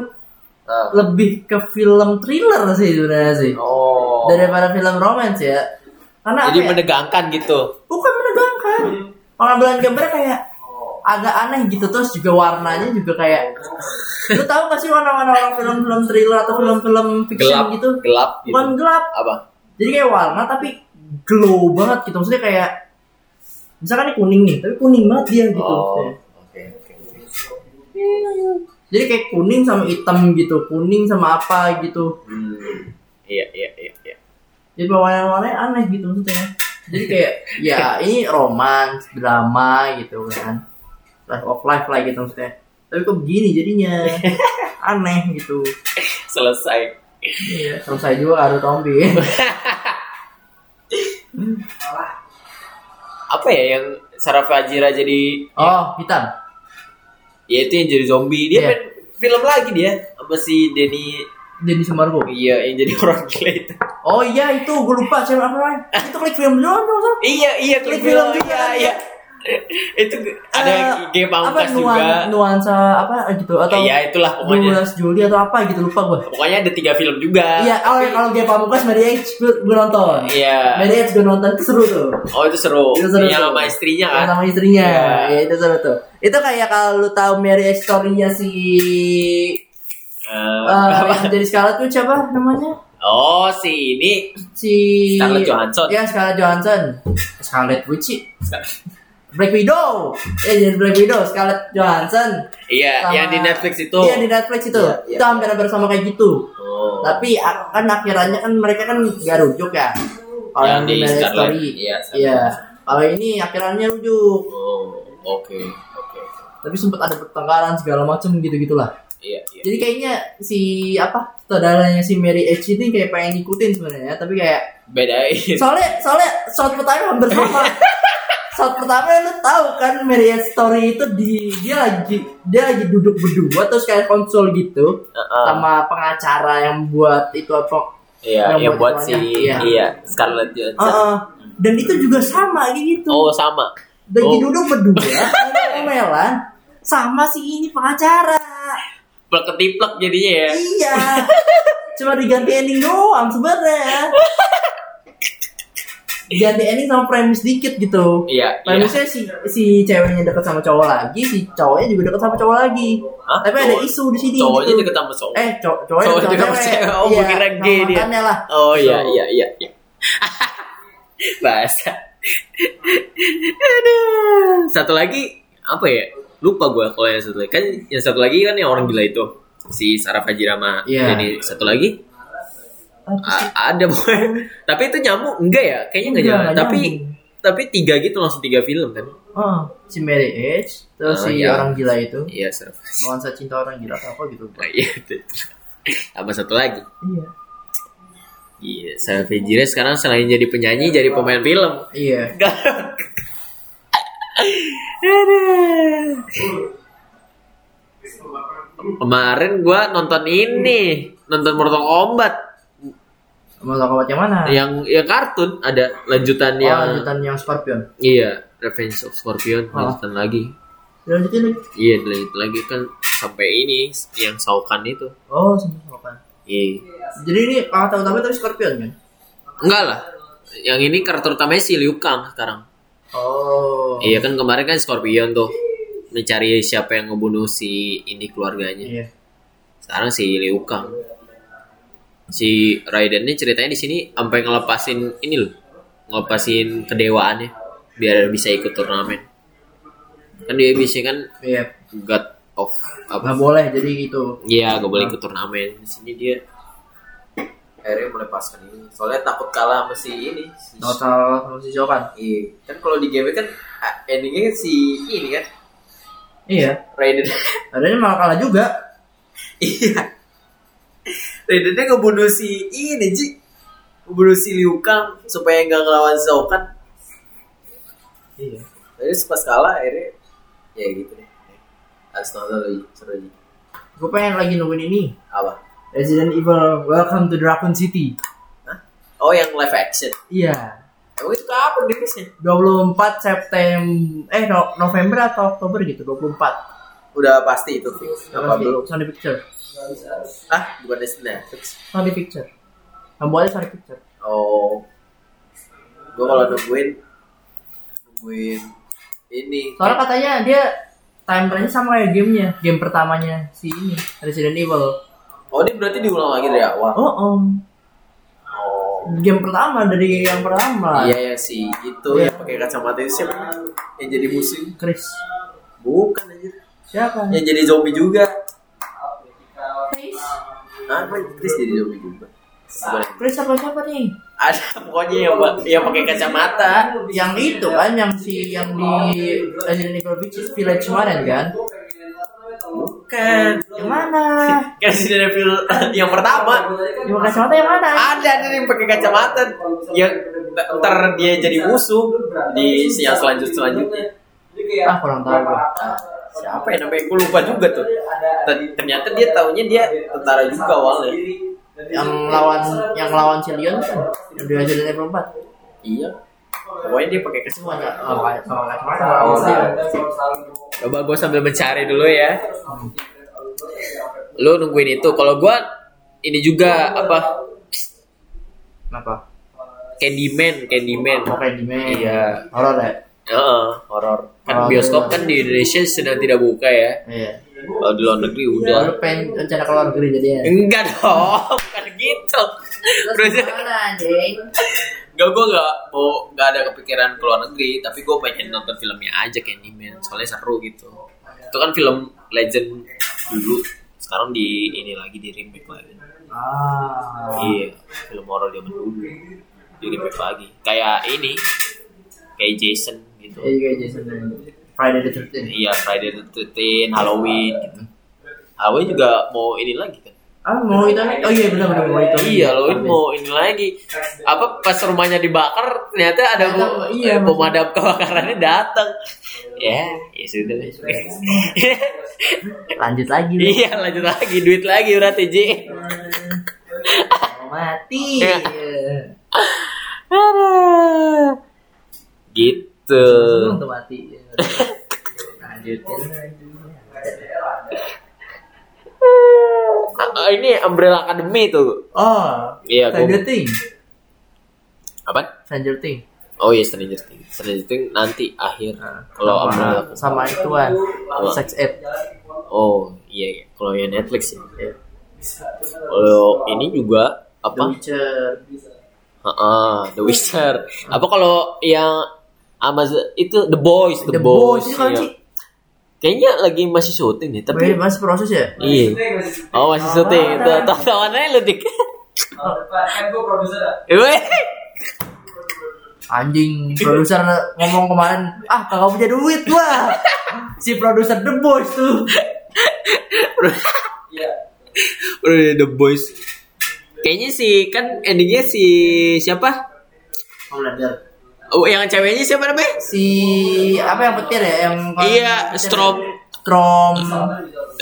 B: Nah.
A: lebih ke film thriller sih sebenarnya sih
B: Oh.
A: daripada film romance ya. Karena
B: Jadi
A: apa ya?
B: menegangkan gitu.
A: bukan menegangkan pengambilan gambar kayak agak aneh gitu terus juga warnanya juga kayak lu tahu gak sih warna-warna orang film-film thriller atau film-film fiction
B: Gelap
A: gitu
B: Gelap gitu.
A: bukan gelap
B: Apa?
A: jadi kayak warna tapi glow banget gitu maksudnya kayak misalkan ini kuning nih tapi kuning banget dia gitu
B: Oh.
A: maksudnya.
B: Oke oke.
A: jadi kayak kuning sama hitam gitu kuning sama apa gitu
B: Hmm. Iya iya iya iya.
A: jadi warna-warnanya aneh gitu maksudnya jadi kayak ya ini romans drama gitu kan life of life lah gitu maksudnya tapi kok begini jadinya aneh gitu
B: Selesai.
A: iya selesai juga ada tombi
B: Apa ya yang Sarah Fajira jadi
A: oh hitam
B: ya itu yang jadi zombie dia
A: Iya.
B: main film lagi dia apa si Denny
A: jadi Sumargo
B: iya yang jadi orang gila itu
A: oh iya itu gue lupa siapa namanya itu klik film doang tuh Sar.
B: iya iya
A: Klik
B: klik
A: film
B: film
A: juga
B: iya
A: kan,
B: iya itu
A: Eh,
B: ada yang game
A: apa
B: pangkas
A: nuan-
B: juga
A: nuansa apa gitu atau
B: iya itulah pokoknya
A: 12 Juli atau apa gitu lupa gue
B: pokoknya ada tiga film juga
A: iya oh ya kalau dia pamungkas Mary H gue nonton
B: Iya.
A: Mary H gue nonton itu seru tuh
B: oh itu seru
A: Itu seru
B: yang
A: tuh.
B: sama istrinya
A: Yang
B: kan
A: sama istrinya.
B: Iya.
A: Ya, itu seru tuh. Itu kayak kalau lu tahu marriage story-nya si
B: Eh,
A: eh, yang jadi Scarlett tuh siapa namanya?
B: oh si ini
A: Si
B: Scarlett Johansson.
A: Iya, Scarlett Johansson. Scarlett Witch. Black Widow. Eh, jadi Black Widow, Scarlett Johansson.
B: iya
A: Sama-
B: yang di Netflix itu
A: Iya, di Netflix itu.
B: Iya, iya.
A: Itu hampir-hampir sama kayak gitu.
B: oh.
A: Tapi a- kan akhirannya kan mereka kan gak rujuk ya. Kalau
B: Yang
A: yang di
B: di
A: marriage
B: Scarlett.
A: story.
B: Iya, Scarlett.
A: Iya. Kalau ini akhirannya rujuk.
B: Oh, oke oke oke.
A: Tapi sempat ada pertengkaran segala macam gitu-gitulah.
B: iya iya
A: Jadi kayaknya si apa saudaranya si Mary H ini kayak pengen ngikutin sebenarnya, tapi kayak
B: bedain
A: soalnya soalnya shot pertama hampir sama. shot pertama lu tahu kan Mary H story itu di dia lagi dia lagi duduk berdua terus kayak konsol gitu
B: Heeh.
A: sama pengacara yang buat itu apa? Yang
B: Iya, yang
A: buat
B: buat si
A: cowoknya. Iya.
B: iya Scarlett
A: Ah,
B: Johansson.
A: ah. dan itu juga sama kayak gitu.
B: Oh, sama.
A: Lagi
B: oh.
A: duduk berdua, omelan sama si ini pengacara.
B: Plek ketiplek jadinya ya.
A: Iya. Cuma diganti ending doang sebenarnya. Diganti ending sama premis dikit gitu.
B: Iya, iya.
A: Premisnya si si ceweknya deket sama cowok lagi, si cowoknya juga deket sama cowok lagi.
B: Hah?
A: Tapi ada
B: Cowok-
A: isu di sini.
B: Cowoknya
A: gitu.
B: deket sama cowok.
A: Eh, cowok cowoknya
B: Cowoknya
A: deket sama
B: deket sama
A: cewek. Iya,
B: cewek. Oh, gua kira
A: sama
B: gay dia.
A: mantannya lah.
B: Oh iya, iya, iya, iya. Bahasa. Aduh. Satu lagi apa ya? Lupa gue kalau yang satu lagi. Kan yang satu lagi kan yang orang gila itu. Si Sarah Fajira sama
A: Iya.
B: Jadi satu lagi
A: Ah,
B: A- ada boy. Tapi itu nyamuk enggak ya? Kayaknya
A: Enggak,
B: enggak nyamuk.
A: enggak
B: Tapi
A: nyambung.
B: tapi tiga gitu langsung tiga film kan
A: Ah, si Mary H, terus
B: Ah,
A: si
B: iya.
A: orang gila itu,
B: iya serem
A: nuansa cinta orang gila atau apa gitu.
B: Nah, iya itu itu. sama satu lagi
A: Iya.
B: iya Salve Jire sekarang selain jadi penyanyi jadi pemain film
A: Iya.
B: kemarin gua nonton ini nonton Mortal Kombat
A: Mau tau yang mana?
B: yang yang kartun ada lanjutan
A: Oh,
B: yang
A: lanjutan yang Scorpion.
B: iya Revenge of Scorpion
A: Oh.
B: lanjutan lagi
A: Lanjutin lagi.
B: iya lanjut lagi kan sampai ini yang Saukan itu
A: Oh, sempat apa?
B: iya
A: Jadi ini pangkat utama tapi Scorpion kan?
B: enggak lah yang ini karakter utamanya si Liu Kang sekarang
A: Oh.
B: Iya kan kemarin kan Scorpion tuh mencari siapa yang ngebunuh si ini keluarganya.
A: Iya.
B: Sekarang si Liu Kang. Si Raiden ini ceritanya di sini sampai ngelepasin ini loh. Ngelepasin kedewaannya biar bisa ikut turnamen. Kan dia bisa kan
A: Iya.
B: God of
A: Nggak
B: apa?
A: boleh jadi gitu.
B: Iya, gak boleh ikut turnamen. Di sini dia
E: akhirnya melepaskan ini soalnya takut kalah sama si ini si
A: Total sama si Jokan.
E: Iya. kan kalau di game kan ah, endingnya kan si ini kan
A: Iya.
E: Raiden
A: Adanya malah kalah juga.
E: iya Raidennya ngebunuh si ini Ji ngebunuh si Liu Kang supaya nggak ngelawan Shao Kahn
A: Iya.
E: Jadi pas kalah akhirnya ya gitu deh. Harus nonton lagi seru lagi.
A: Gue pengen lagi nungguin ini.
E: Apa?
A: Resident Evil Welcome to Dragon City.
E: Oh yang live action.
A: Iya.
E: Emang itu kapan rilisnya?
A: 24 September eh No- November atau Oktober gitu 24
E: Udah pasti itu fix. Apa
A: Nanti,
E: belum?
A: Sony Picture
E: Ah, bukan dari Netflix.
A: Sony Picture Pembuatnya Sony Picture
E: Oh. Gua kalau nungguin nungguin ini.
A: Soalnya katanya dia timeline sama kayak gamenya, game pertamanya si ini Resident Evil.
E: Oh, ini berarti diulang lagi dari awal.
A: Oh om,
E: Oh.
A: game pertama dari yang pertama.
E: Iya ya si itu
A: Iya.
E: yang pakai kacamata itu siapa? Yang jadi musim?
A: Chris,
E: Bukan anjir.
A: siapa?
E: Yang jadi zombie juga.
A: Chris,
E: Ah, Chris jadi zombie juga. Bukan
A: Chris apa siapa nih?
E: ada pokoknya yang buat yang pakai kacamata
A: Yang itu kan, yang si yang di Resident Evil Village, Village kemarin kan?
E: bukan
A: Yang mana?
E: Resident Evil yang pertama
F: kan
A: Yang kacamata yang mana?
E: ada ada yang pakai kacamata yang ntar dia jadi musuh di yang selanjut selanjutnya
A: Ah kurang tahu. gua.
E: siapa ya namanya gue lupa juga tuh Ter- ternyata dia taunya dia tentara juga awalnya
A: Yang lawan yang lawan si Leon kan? Yang di Resident Evil 4
E: iya pokoknya dia pakai
A: Itu
E: kacamata
A: ada sama kayak- eh, sama kacamata.
E: Oh,
A: sama dia.
B: Coba gue sambil mencari dulu ya. Lu nungguin itu. Kalau gue ini juga apa
A: Kenapa?
B: Candyman, Candyman.
A: Oke di main.
B: Iya.
A: Horor ya?
B: Heeh, horor. Kan
A: Horor.
B: bioskop kan di Indonesia sedang tidak buka ya.
A: Iya.
B: Kalau di luar negeri udah.
A: Baru pengen rencana keluar negeri ya. jadinya.
B: Enggak dong, bukan gitu. Terus
A: Mana anjing?
B: enggak gue enggak mau enggak ada kepikiran ke luar negeri, tapi gue pengen nonton filmnya aja Candyman, soalnya seru gitu. Itu kan film legend dulu, sekarang di ini lagi di remake lagi.
A: Ah.
B: Iya, film horor zaman dulu. Di remake lagi. Kayak ini, kayak Jason gitu.
A: Iya kayak Jason dan Friday the 13th.
B: Iya, Friday the 13 Halloween gitu. Halloween juga mau ini lagi kan?
A: Ah mau itu nih? Oh iya benar benar mau itu.
B: Iya, Halloween mau ini lagi. Apa pas rumahnya dibakar ternyata ada
A: Ternyata,
B: bu-
A: iya,
B: eh, pemadam kebakarannya datang. Ya, ya sudah. lah.
A: Lanjut lagi lu.
B: iya, lanjut lagi duit lagi berarti Ji.
A: Mau mati.
B: Iya. Aduh. Gitu.
A: Seneng tuh mati.
B: Eh.
A: Lanjutin lagi.
B: Ah, ini Umbrella Academy tuh.
A: Oh,
B: Iya, gua-
A: Stranger Thing.
B: Apa?
A: Stranger Thing.
B: Oh iya Stranger Things. Stranger Things nanti akhir.
A: Sama-
B: Kalau Umbrella
A: sama ituan sex ed.
B: Oh iya, iya. kalau yang Netflix ya.
A: Iya.
B: Kalau ini juga
A: The
B: apa?
A: Witcher.
B: Heeh, The Witcher. Apa kalau yang Amazon itu The Boys, The,
A: The Boys itu kan
B: iya.
A: sih.
B: Kayaknya lagi masih syuting nih, tapi
A: Tapi masih proses ya?
B: iya. Oh masih syuting.
A: Apaan?
B: Tuh, tuh, tawannya lu dik.
C: Kan gue produser.
B: Weh.
A: anjing produser ngomong kemarin ah kagak punya duit gua si produser The Boys tuh Iya.
B: Udah The Boys. Kayaknya sih kan endingnya si siapa? Oh, yang ceweknya siapa namanya?
A: si apa yang petir ya yang
B: Iya,
A: petir. ya?
B: Strom.
A: Strom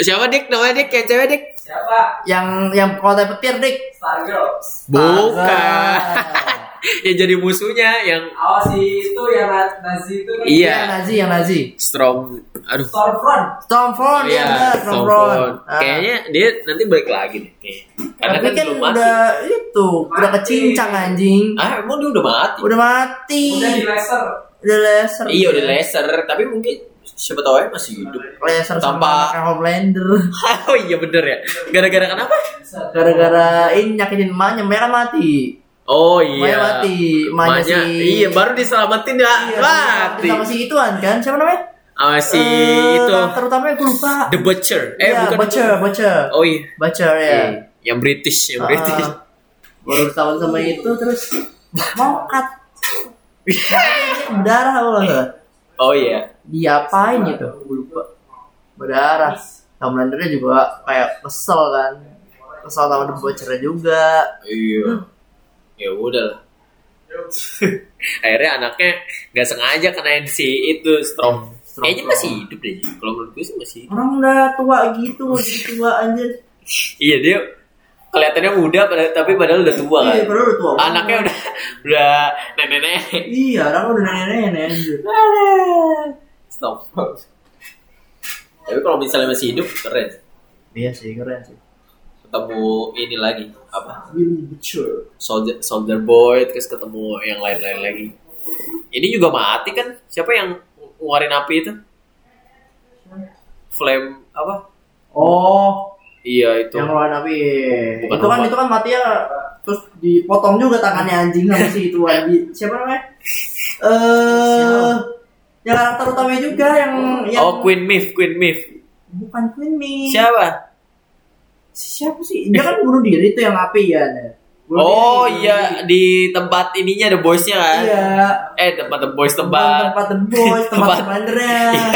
B: Siapa Dik? Namanya Dik, yang cewek Dik?
C: Siapa?
A: yang yang kota petir dik
C: Stargirls.
B: Bukan.
A: Astaga.
B: yang jadi musuhnya yang
C: Awas si itu yang na- Nazi itu kan.
B: Iya.
A: yang Nazi yang Nazi
B: Strom. Aduh.
C: Stormfront.
A: Stormfront ya benar Stormfront
B: Stormfront.
A: Ah.
B: Iya, Kayaknya dia nanti balik lagi deh kayaknya. Karena
A: tapi
B: kan,
A: kan
B: belum mati.
A: udah itu udah kecincang anjing
E: Ah, emang dia udah mati?
A: udah mati
C: Udah di laser.
A: udah laser
E: Iya, udah laser, tapi mungkin siapa tahu ya masih hidup.
A: laser
E: Tanpa-
A: sama kayak Homelander
B: oh iya bener ya. Gara-gara kenapa?
A: gara-gara ini nyakitin emaknya emaknya kan mati
B: Oh
A: emaknya
B: iya.
A: mati emaknya
B: Emaknya-
A: si
B: Iya, baru diselamatin ya.
A: Iya,
B: mati.
A: sama si ituan kan siapa namanya
B: Sama si
A: Eh,
B: itu
A: karakter utamanya gue lupa
B: The Butcher. Eh
A: Iya,
B: bukan
A: Butcher, Butcher.
B: Oh iya.
A: Butcher ya.
B: Iya, Yang British, yang British.
A: Ah, baru tahun sama itu terus mokat. Berdarah apa enggak?
B: Oh iya.
A: Diapain itu? Gue lupa. Berdarah. Homelandernya juga kayak kesel kan. Kesel sama The Butcher juga. Hmm.
E: Iya. Ya udah lah.
B: Akhirnya anaknya nggak sengaja kenain si itu Strom.
A: Strom.
B: Kayaknya masih hidup deh. Kalau menurut gue sih masih hidup.
A: Orang udah tua gitu, udah tua anjir.
B: Iya dia kelihatannya muda pada- tapi padahal udah tua kan.
A: Iya, padahal udah tua. banget.
B: Anaknya udah udah nenek-nenek.
A: Iya, orang udah nenek-nenek anjir.
E: Stop. tapi kalau misalnya masih hidup keren.
A: Iya sih, keren sih.
E: Ketemu ini lagi apa?
A: Really Butcher.
E: Soldier Soldier
B: Soldier Boy terus ketemu yang lain-lain lagi. Ini juga mati kan? Siapa yang nguarin api itu? Flame apa?
A: Oh,
B: Iya itu.
A: yang ngeluarin api
B: Bukan
A: itu kan
B: obat.
A: itu kan matinya terus dipotong juga tangannya anjing sama si itu di, siapa namanya eh yang karakter utama juga yang yang
B: Oh Queen Mif, Queen Mif.
A: bukan Queen Mi
B: Siapa?
A: Si- siapa sih dia kan bunuh diri tuh yang api ya Bunuh
B: Oh
A: diri.
B: iya di tempat ininya The Boys-nya kan?
A: iya
B: Eh tempat The Boys
A: tempat tempat
B: tempat.
A: The Boys, tempat
B: Tempat-
A: Commandernya,
B: Iya.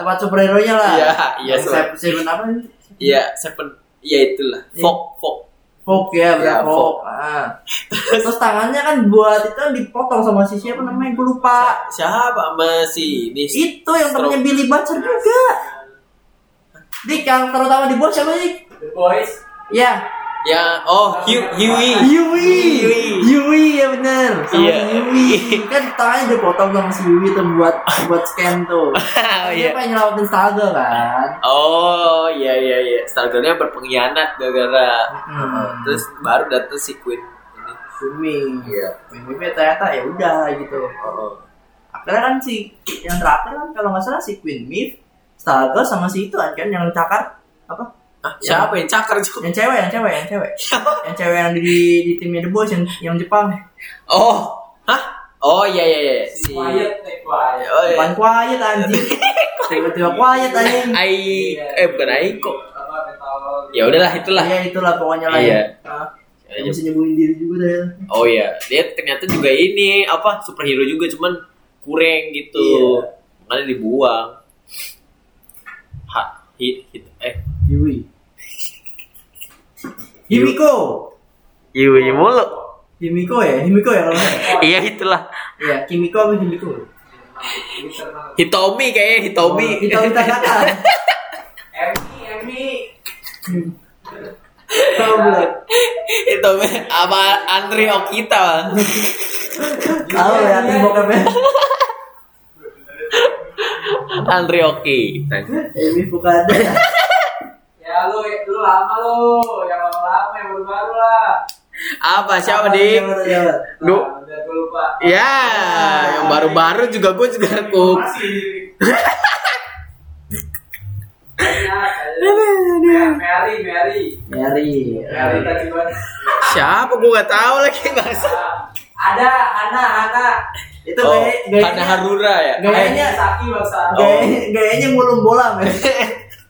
A: tempat superhero nya lah.
E: Iya, iya,
A: Yang
E: Sobat.
A: Seven Seven apa? sih?
E: Iya, Seven. Iya itulah.
A: Iya.
E: Fok, Fok.
A: Folk ya,
E: Iya,
A: benar folk. Ah. Terus tangannya kan buat itu kan dipotong sama si siapa namanya? Gue lupa.
E: Siapa masih ini?
A: Itu yang
E: Stroke.
A: temennya Billy Butcher juga. Dik yang terutama di bos siapa sih?
C: The Boys.
A: Ya,
E: Ya, oh, Hugh, Huey.
A: Yui.
E: Yui.
A: Yui ya benar. Sama
B: Iya.
A: Yui. Kan tangannya dipotong sama si Yui tuh buat buat scan tuh. Kan
B: Oh
A: Dia
B: iya.
A: pengen nyelamatin Saga kan.
E: Oh, iya iya iya. Stargirl-nya berpengkhianat gara-gara
A: Hmm.
E: terus baru datang si Queen. Ini.
A: Sumi.
E: Iya.
A: Mimpi ya. ternyata ya udah gitu.
E: Oh.
A: Akhirnya kan si yang terakhir kan kalau nggak salah si Queen Myth, Stargirl sama si itu kan yang cakar apa?
E: Ah, siapa yang cakar juga?
A: Yang cewek, yang cewek, yang cewek. yang cewek yang di di timnya The Boys yang yang Jepang.
E: Oh, hah? Oh iya iya iya. Si
C: Quiet, take quiet.
E: Oh, iya.
A: Bukan quiet anjing. Tiba-tiba quiet anjing.
B: Ai eh bukan Aiko.
C: Apa metal?
B: Ya udahlah itulah.
A: Iya itulah pokoknya lah.
B: Iya.
A: Ya. Ah, yang mesti nyembuhin diri juga ya. deh.
B: Oh iya, dia ternyata juga ini apa superhero juga cuman kurang gitu.
A: Iya.
B: Makanya dibuang. Ha, hi, hit, eh
A: Yui. Himiko.
B: Yui Iya, mulu.
A: Himiko ya, Himiko ya kalau nggak.
B: Iya itulah.
A: Iya, Kimiko apa Himiko?
B: Hitomi kayaknya Hitomi.
A: Oh, Hitomi Takata.
C: Emi, Emi.
A: Tahu belum?
B: Hitomi apa Andre Okita.
A: Tahu ya, tim bokapnya.
B: Andre Okita.
A: Emi Fukada.
C: Ya lu, lu lama lu. Yang lama-lama, yang baru-baru lah.
B: Apa siapa dik?
C: Lu.
B: Lu
C: Udah gue lupa.
B: Ya, yang baru-baru juga gue juga aku.
C: Banyak, aja. Nah, Ya, Mary, Mary.
A: Mary.
C: Mary tadi gua.
B: Siapa gue gak tahu lagi bahasa.
C: Ada Hana, Hana.
A: Itu
E: Oh,
A: gaya
E: Hana
A: gayanya
E: Harura ya.
B: Eh.
A: Gayanya.
C: Saki bangsa.
A: gaya, gayanya ngulung bola, men.
B: Eh.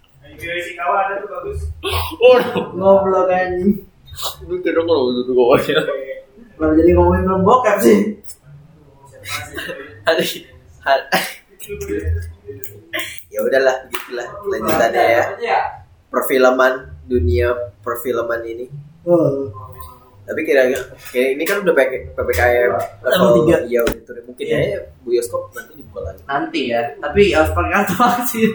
F: si kawan ada tuh bagus.
E: Waduh,
A: Ngobrol kan.
E: lu kira kalau udah gue
B: ya.
A: Kenapa jadi ngomongin film bokep sih?
E: hari hari ya udahlah begitulah lanjutannya ya
C: Iya.
E: perfilman dunia perfilman ini
A: Oh.
E: tapi kira-kira kayak ini kan udah PK, ppkm level
A: Iya. tiga.
E: iya gitu deh. mungkin
A: Iya.
E: aja bioskop nanti dibuka lagi
A: Nanti ya, Iya. tapi harus pakai kartu vaksin.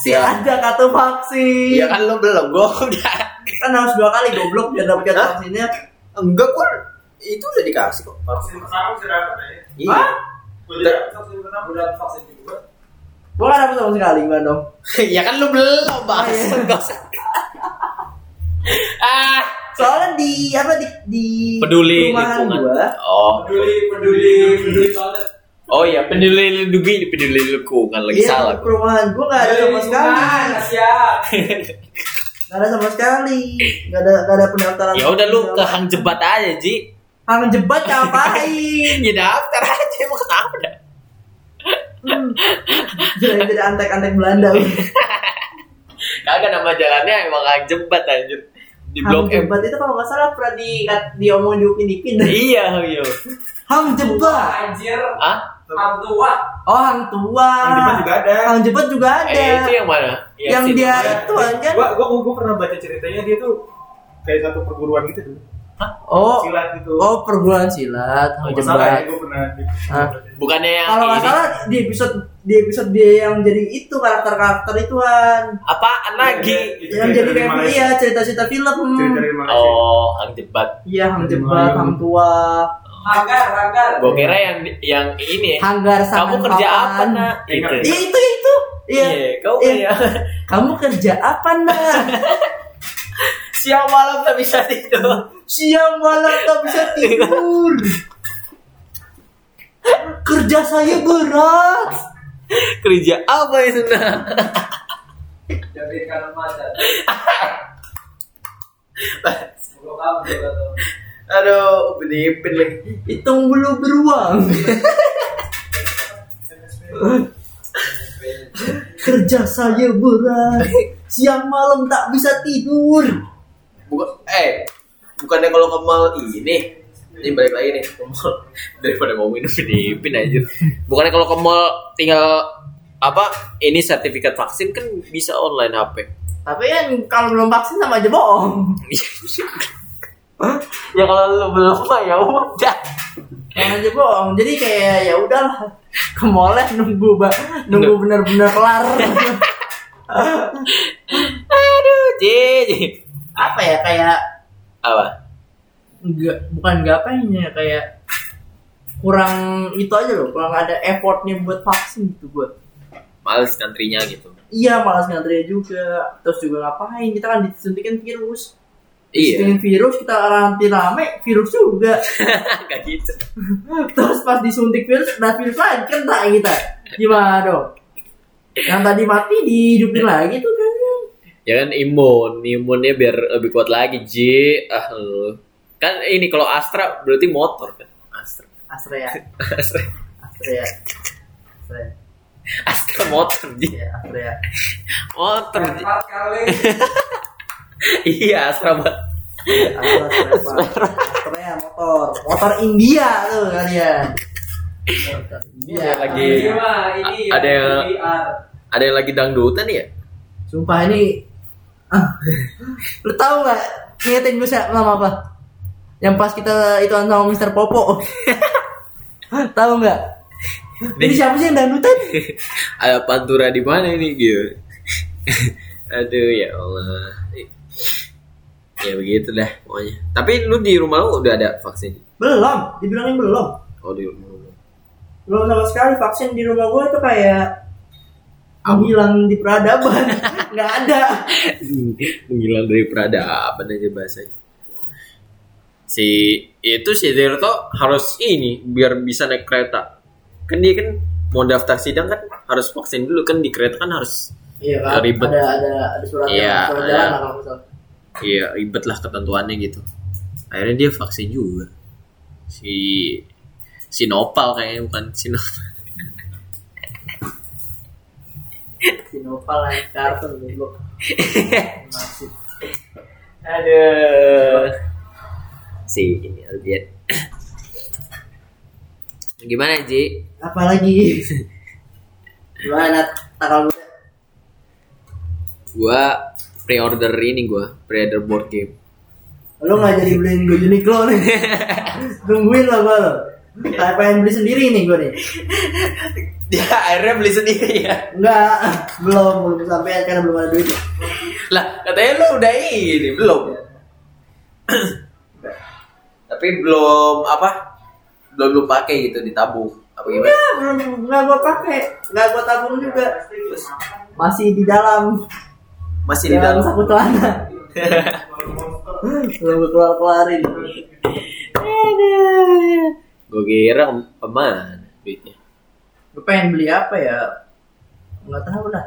A: si
E: Ya.
A: ada kartu vaksin.
E: Iya kan lo belum gue udah
A: Kan harus dua kali goblok biar dapat kartu
E: Hah?
A: vaksinnya.
E: enggak kok itu udah dikasih kok
F: Vaksin pertama sudah dapat ya?
E: iya
A: Hah?
F: Gua juga vaksin pertama udah vaksin kedua.
A: Gua kan dapat sama sekali gimana dong?
E: ya kan lo belum bahas
A: Iya.
E: Nggak usah. ah
A: Soalnya di apa di di
B: Peduli
A: rumahan
B: lingkungan.
A: gua
E: oh
F: Peduli, peduli, peduli toilet.
E: oh ya
B: iya, Peduli lindungi, peduli lingkungan lagi
A: iya,
B: salah. gua.
A: Perumahan gua nggak ada sama sekali.
C: Lingkungan, siap.
A: Nggak ada sama sekali. Nggak ada nggak ada pendaftaran.
B: Ya udah lu ke hang jebat aja Ji.
A: Hang jebat ngapain?
B: Ya daftar aja mau kenapa dah?
A: Jadi jadi antek-antek Belanda.
B: Kagak nama jalannya emang hang jebat anjir. Di
A: Hang
B: blok M.
A: jebat itu kalau nggak salah pernah di diomong di Upin Ipin.
B: Iya, iya.
A: Hang jebat.
C: Anjir,
B: Ah,
C: hang tua.
A: Oh, hang tua.
F: Yang depan juga ada.
A: Hang jebat juga ada.
B: eh, itu yang mana?
A: yang
B: si-
A: dia
F: Ada.
A: itu anjir.
F: Gua, gua, gua pernah baca ceritanya dia tuh kayak satu perguruan gitu dulu.
A: Oh,
F: Silat gitu.
A: oh perguruan silat, hang
F: Kalau nggak salah ya,
A: jebat.
F: gua pernah. di-
A: Hah?
B: Bukannya yang
A: Kalau nggak
B: ini.
A: salah di episode di episode dia yang jadi itu karakter-karakter ituan. Iya,
B: Apaan lagi?
F: Itu
A: Yang
F: cerita
A: jadi
F: dari
A: kayak
F: Malaysia.
A: iya cerita-cerita film.
F: Cerita dari Malaysia.
B: Oh, hang jebat.
A: Iya, hang jebat, hang tua,
C: Hanggar, hanggar.
B: Gua
A: Iya.
B: kira yang yang ini.
A: hanggar
B: Kamu
A: sangan
B: kerja apa,
A: papan.
B: Nak? Gitu. Itu.
A: Iya, itu itu. Iya.
B: kamu
A: Iya.
B: kerja.
A: Kamu kerja apa, Nak?
B: Siang malam tak bisa tidur.
A: Siang malam tak bisa tidur. Kerja saya berat.
B: Kerja apa itu, Nak?
C: Jadi kalau macet. Gua kamu juga tuh.
E: aduh benipin lagi
A: Hitung belum beruang. Kerja saya berat. Siang malam tak bisa tidur.
E: bukan eh bukannya kalau ke mall ini ini balik lagi nih ke mall daripada ngomongin
B: Filipin aja. Bukannya kalau ke mall tinggal apa ini sertifikat vaksin kan bisa online HP.
A: Tapi kan kalau belum vaksin sama aja bohong.
B: ya kalau lu belum mah ya udah.
A: Sama aja bohong. Jadi kayak ya udahlah. Ke mall lah, nunggu ba- nunggu bener-bener kelar.
B: Aduh, Ji. Ji.
A: Apa ya kayak
B: Apa?
A: nggak bukan nggak apanya kayak kurang itu aja loh kurang ada effortnya buat vaksin gitu gue
B: Males kantrinya gitu.
A: iya malas ngantri juga terus juga ngapain kita kan disuntikin virus
B: Iya,
A: disuntikin virus kita nanti rame virus juga
B: enggak gitu.
A: terus pas disuntik virus nah virus lagi kena kita gimana dong yang tadi mati dihidupin lagi tuh kan
B: Ya kan imun, imunnya biar lebih kuat lagi, Ji. Ah, lu. Kan ini kalau Astra berarti motor kan. Astra.
A: Astra ya
B: Astra,
A: Astra ya Astra ya
B: Astra motor, Ji.
A: Iya, Astra ya
B: Motor, Ji.
C: Empat kali.
B: Iya, Astra banget.
A: Astra Astra apa? Astra ya motor motor India tuh kalian
B: Iya, lagi.
C: Ini mah, ini
B: A-
C: ah,
B: ada yang-
C: VR.
B: Ada yang lagi dangdutan ya?
A: Sumpah ini Ah. Lu tahu nggak Ngeliatin gue siapa sama apa Yang pas kita itu sama Mr. Popo Tahu nggak Ini siapa sih yang dangdutan
B: ada pantura di mana ini gitu aduh ya Allah ya begitu dah pokoknya tapi lu di rumah lu udah ada vaksin
A: Belum Dibilangin belum
B: oh di rumah lu
A: Belum sama sekali vaksin di rumah gue itu kayak Menghilang di peradaban nggak ada
B: menghilang dari peradaban aja bahasanya si itu si Tirto harus ini biar bisa naik kereta kan dia kan mau daftar sidang kan harus vaksin dulu kan di kereta kan harus
A: Iya
B: kan? Ribet.
A: Ada, ada, ada surat
B: Iya,
A: surat
B: ada.
A: jalan lah kalau misal.
B: Iya ribet lah ketentuannya gitu. Akhirnya dia vaksin juga. Si si Nopal kayaknya bukan si Nopal.
A: Sinopal lah kartun dulu Masih
G: oh,
B: Aduh. Si ini Albion.
G: Gimana Ji?
A: Apalagi gimana tanggal muda?
G: Gua pre-order ini gua, pre-order board game.
A: Lo nggak jadi beliin gue Uniqlo nih. Tungguin lah gue lo. Kayak pengen beli sendiri nih gue nih.
B: Dia Ya, akhirnya beli sendiri ya.
A: Enggak, belum belum sampai karena belum ada duit.
B: Lah, katanya lu udah ini belum. Tapi belum apa? Belum lu pakai gitu ditabung. Apa gimana?
A: Enggak, belum enggak gue pakai, enggak gue tabung juga.
B: Terus
A: Masih di dalam
B: masih di
G: Ya,
A: dalam
B: dalam.
A: saku celana. belum gue keluar keluarin.
G: Gua kira kemana duitnya?
A: Gue pengen beli apa ya? Enggak tahu lah.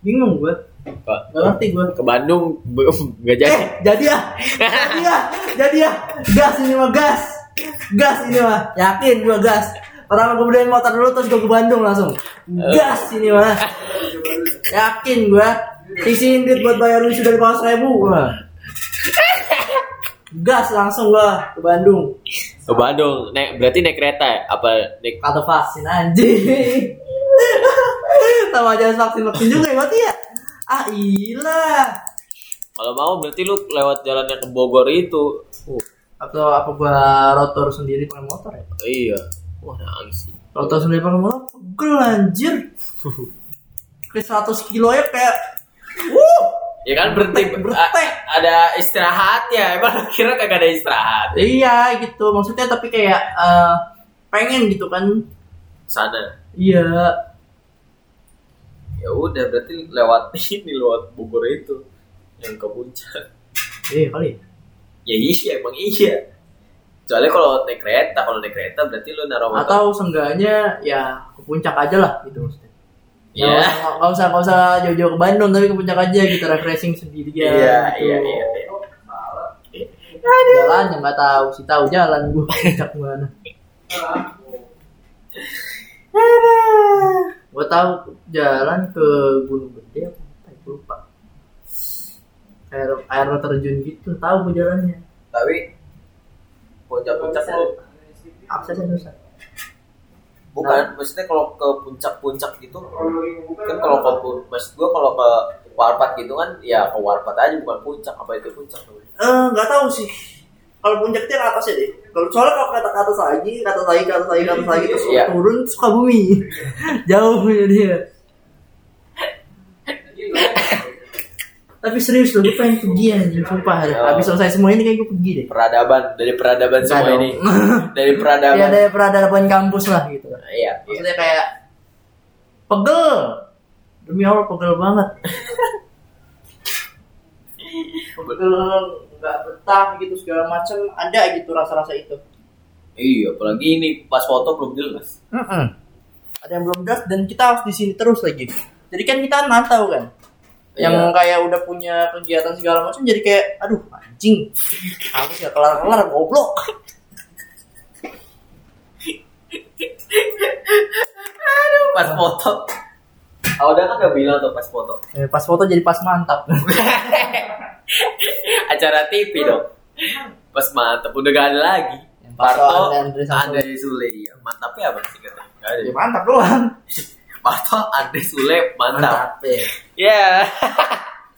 A: Bingung gue.
G: Pak,
A: Enggak ngerti gue.
G: ke Bandung belum nggak jadi.
A: Eh, jadi ya. Jadi ya. Jadi ya. Gas ini mah gas. Gas ini mah. Yakin gua gas. Pertama gue beliin motor dulu terus gue ke Bandung langsung. Gas ini mah. Yakin gua. Isiin duit buat bayar lucu dari pangkas ribu gua. Gas langsung gua ke Bandung.
G: Ke Bandung, naik berarti naik kereta ya? Apa naik
A: Kata vaksin anjing. Sama aja vaksin vaksin juga ya mati ya. Ah ilah.
G: kalau mau berarti lu lewat jalan yang ke Bogor itu. Oh,
A: Atau apa gua rotor sendiri pakai motor ya?
G: iya. Wah, nangis. sih.
A: Kalau tahu sendiri pakai motor, pegel anjir. Kayak 100 kilo ya kayak Wuh,
B: Ya kan berhenti
A: Bertek.
B: a- ada istirahatnya. Emang lu kira kagak ada istirahat?
A: iya gitu. Maksudnya tapi kayak eh, pengen gitu kan.
B: Sana.
A: Iya.
B: Ya udah berarti lewat ini lewat Bogor itu yang ke puncak.
A: Iya kali.
B: Eh, Ya iya emang iya. Soalnya kalau naik kereta, kalau naik kereta berarti lu naruh motor.
A: Atau seenggaknya ya ke puncak aja lah gitu maksudnya. Ya,
B: Iya.
A: nggak- nggak usah nggak usah jauh-jauh ke Bandung tapi ke puncak aja gitu refreshing sendirian
B: Iya,
A: gitu.
B: iya, iya, iya.
A: Jalan yang nggak tahu, si tahu jalan gua ke puncak mana. Gua tahu jalan ke Gunung Gede apa apa ya, gua lupa. Air air terjun gitu, tahu gua jalannya.
B: Tapi puncak-puncak lu
A: Aksesnya susah.
B: Bukan, maksudnya kalau ke puncak-puncak gitu kan kalau ke pu- maksud gua kalau ke Warpat gitu kan ya ke Warpat aja bukan puncak apa itu puncak namanya?
A: Eh, nggak tahu sih. Kalau puncaknya ke atas ya deh. Kalau soalnya kalau kata ke atas lagi, ke atas lagi, ke atas lagi, ke atas lagi terus
B: Iya.
A: turun suka bumi. Jauh ya dia. Tapi serius loh, gue pengen pergi anjing, sumpah. Habis selesai semua ini kayak gue pergi deh.
B: peradaban dari peradaban
A: Nggak dong.
B: semua ini dari
A: Ya
B: peradaban
A: ada peradaban kampus lah gitu.
B: iya iya.
A: Maksudnya kayak pegel. Demi Allah pegel banget. pegel nggak betah gitu segala macam ada gitu rasa-rasa itu.
B: iya apalagi ini pas foto belum jelas
A: Ada yang belum jelas dan kita harus di sini terus lagi. Jadi kan kita mantau kan. Yang
B: Iya.
A: kayak udah punya kegiatan segala macam jadi kayak aduh anjing. Kamu gak kelar-kelar goblok.
B: pas foto Ah, udah kan gak bilang tuh pas foto
A: Eh, pas foto jadi pas mantap.
B: acara TV dong pas mantep udah gak ada lagi
A: Yang pas
B: Parto
A: Andre Sule.
B: Andre Sule iya mantapnya apa sih kata Gak ada
A: ya mantap doang.
B: Parto Andre Sule
A: Mantap
B: mantap
A: ya.
B: ya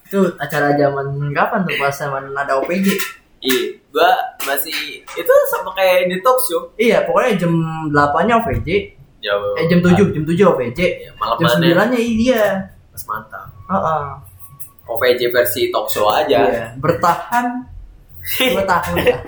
A: Itu acara zaman kapan tuh pas zaman ada OPG?
B: Iya, gua masih itu sama kayak di talk show.
A: Iya, pokoknya jam 8-nya OVJ,
B: Jauh.
A: eh jam 7, jam 7 OVJ.
B: Iya, malam
A: jam
B: mana?
A: 9-nya iya dia.
B: Mas mantap.
A: Heeh.
B: OVJ versi talk show
A: Iya,
B: aja.
A: bertahan 2 tahun ya.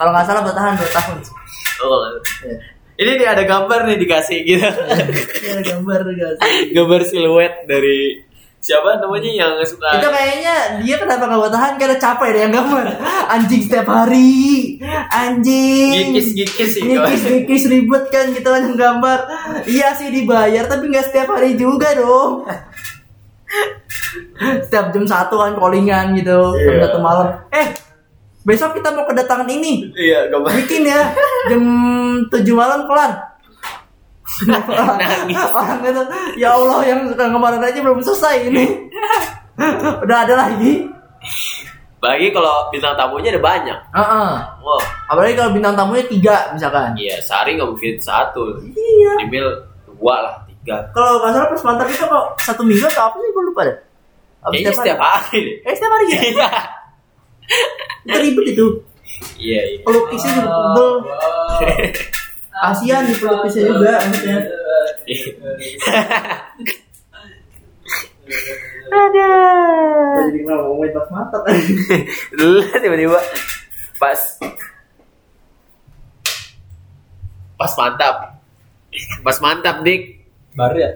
A: Kalau nggak salah bertahan 2 tahun. sih.
B: Oh.
A: Iya.
B: Ini nih ada gambar nih dikasih gitu.
A: Ini ada Iya, gambar guys.
B: gambar siluet dari siapa namanya yang
A: Itu kan-
B: suka
A: kayaknya dia kenapa nggak bertahan karena capek deh yang gambar. Anjing setiap hari. Anjing.
B: gikis-gikis sih.
A: Nikis nikis ribet kan gitu kan yang gambar. Iya sih dibayar tapi nggak setiap hari juga dong. setiap jam satu kan callingan gitu jam
B: Iya.
A: satu malam. Eh besok kita mau kedatangan ini
B: Iya, gambar.
A: bikin ya jam 7 malam kelar. Orang gitu, ya Allah yang kemarin aja belum selesai ini. Udah ada lagi.
E: Bagi kalau bintang tamunya ada banyak.
A: Ah, ah.
E: Wow.
A: apalagi kalau bintang tamunya tiga misalkan
E: Iya, sehari nggak mungkin satu.
A: iya
E: Dimil dua lah, tiga.
A: kalau nggak salah pas mantap itu kok satu minggu atau apa sih gue lupa deh Apa
E: Kayaknya setiap
A: hari?
E: hari deh.
A: eh setiap hari ya
E: Iya.
A: itu ribet itu
E: Iya, iya.
A: pelukisnya juga pegel kasihan di pelukisnya juga ya. maksudnya ada
F: jadi kenal ngomongin pas mata
E: Dulu tiba-tiba pas pas mantap. Pas mantap, Dik.
C: Baru ya?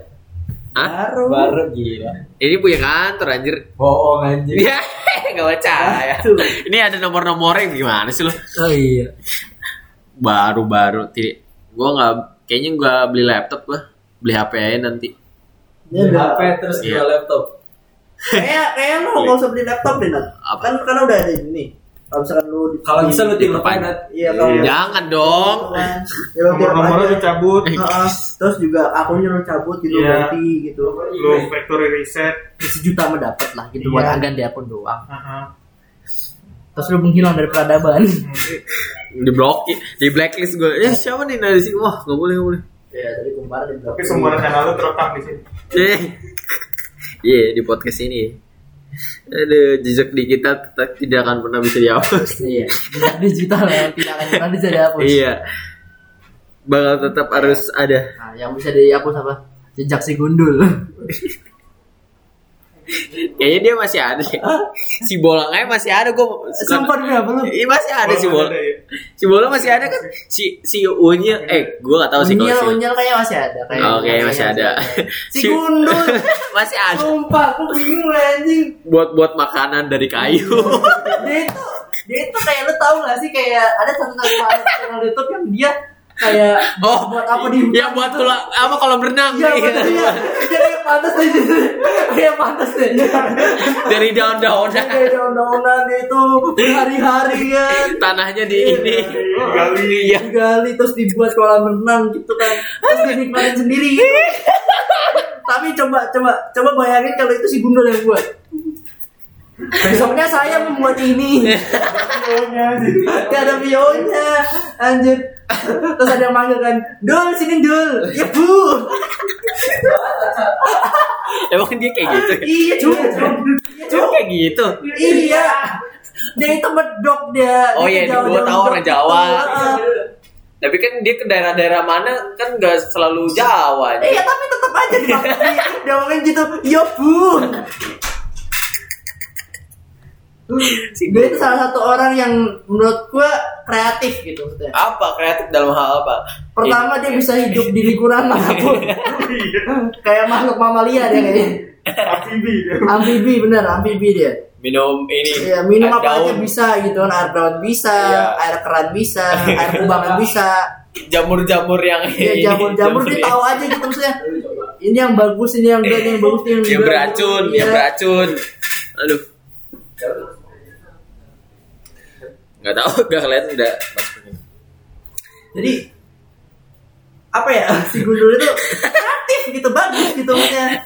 B: Hah?
A: baru
C: Baru gila.
B: Ini punya kantor anjir.
C: Bohong anjing.
B: Ya, nggak percaya. Ini ada nomor-nomornya gimana sih lo?
A: oh iya
B: Baru-baru tidak. Gua nggak kayaknya gua beli laptop gua. Beli HP aja nanti.
A: Dia
C: Beli
A: udah-
C: HP terus
B: Iya.
C: dua laptop.
A: kayak kayak lu nggak usah beli laptop deh nat
B: Apa?
A: kan karena udah ada ini kalau misalkan lu di-
C: Kalau bisa lu tiru
B: Diperpanjang.
C: Nat.
A: iya kalau
B: Jangan dong.
A: ya, lu tiap
F: nomor-nomornya
A: aja.
F: dicabut
C: Eh.
A: Heeh. terus juga akunnya lu cabut gitu
F: Iya.
A: ganti gitu
F: lu factory reset
A: Ya, sejuta mendapat lah gitu
F: Iya.
A: buat agan di akun doang
F: Heeh.
A: terus lu menghilang dari peradaban
B: Di blokir, di blacklist gua. Eh, siapa nih dari sini? Wah, nggak boleh, nggak boleh.
A: ya dari kumpar di
F: tapi semua rencana lu terekam di sini
B: Eh. Iya, di podcast ini. Aduh, jejak di kita tetap tidak akan pernah bisa dihapus.
A: iya jejak digital ya tidak akan pernah bisa dihapus
B: Iya. Bakal tetap harus ada.
A: nah, yang bisa dihapus apa jejak si gundul
B: Kayaknya dia masih ada. Si bolang aja masih ada gue.
A: sumpah demi apa lu
B: Iya masih ada si bola.
F: Walaupun ada ya.
B: Si bola masih ada kan? Si si unya eh gue gak tahu sih
A: unyil
B: kalau si Oh,
A: unyil kayaknya masih ada kayak
B: Oke, masih ada.
A: si
B: Si-
A: gundul
B: masih ada
A: sumpah aku bingung lah, anjing
B: buat buat makanan dari kayu.
A: dia itu dia itu kayak lu tau gak sih kayak ada satu channel channel YouTube yang dia kayak
B: Oh,
A: buat apa di
B: Yang buat tulang apa kalau berenang?
A: Iya betul iya. Dia kayak pantas deh gitu. Kayak pantas deh.
B: Dari
A: Dia
B: daun-daunan.
A: kayak undang-undang dia itu berhari-hari kan.
B: Tanahnya di ini.
F: Digali.
B: Iya.
A: Digali terus dibuat kolam renang gitu kan. Terus dinikmatin sendiri gitu. Tapi coba coba coba bayangin kalau itu si Gundul yang buat. Besoknya saya membuat ini. Gak ada bionya Anjir Terus ada yang manggil kan Dul sini Dul Ya bu
B: Emang dia kayak gitu.
A: Iya cuy
B: Cuma kayak gitu.
A: Iya. Dia itu medok dia.
B: Oh iya,
A: Dia jauh-jauh
B: gua tahu orang
A: medok.
B: Jawa.
A: Heeh.
C: Iya.
B: Tapi kan dia ke daerah-daerah mana kan gak selalu Jawa.
A: Iya, tapi tetap aja dimakan.
E: Iya.
A: Dia ngomongin gitu, "Yo, Bu." Dia itu salah satu orang yang menurut gua kreatif gitu maksudnya.
E: Apa kreatif dalam hal apa?
A: Pertama dia bisa hidup di lingkungan manapun.
F: Iya.
A: Kayak makhluk mamalia dia kayaknya.
F: Amfibi.
A: Amfibi bener, amfibi dia.
E: Minum ini.
A: Iya, minum
E: air
A: apa aja
E: daun,
A: bisa gitu kan, air daun bisa,
E: Iya.
A: air keran bisa, air kubangan bisa.
E: Jamur-jamur yang
A: Iya
E: ini, ya.
A: jamur-jamur dia tahu aja gitu maksudnya. Ini yang bagus, ini yang enggak, ini yang bagus, ini
E: yang
A: yang enggak.
E: beracun,
A: Iya.
E: yang beracun. Aduh. Gak tahu, gak kelihatan udah.
A: Jadi apa ya si gundul itu kreatif gitu bagus gitu maksudnya.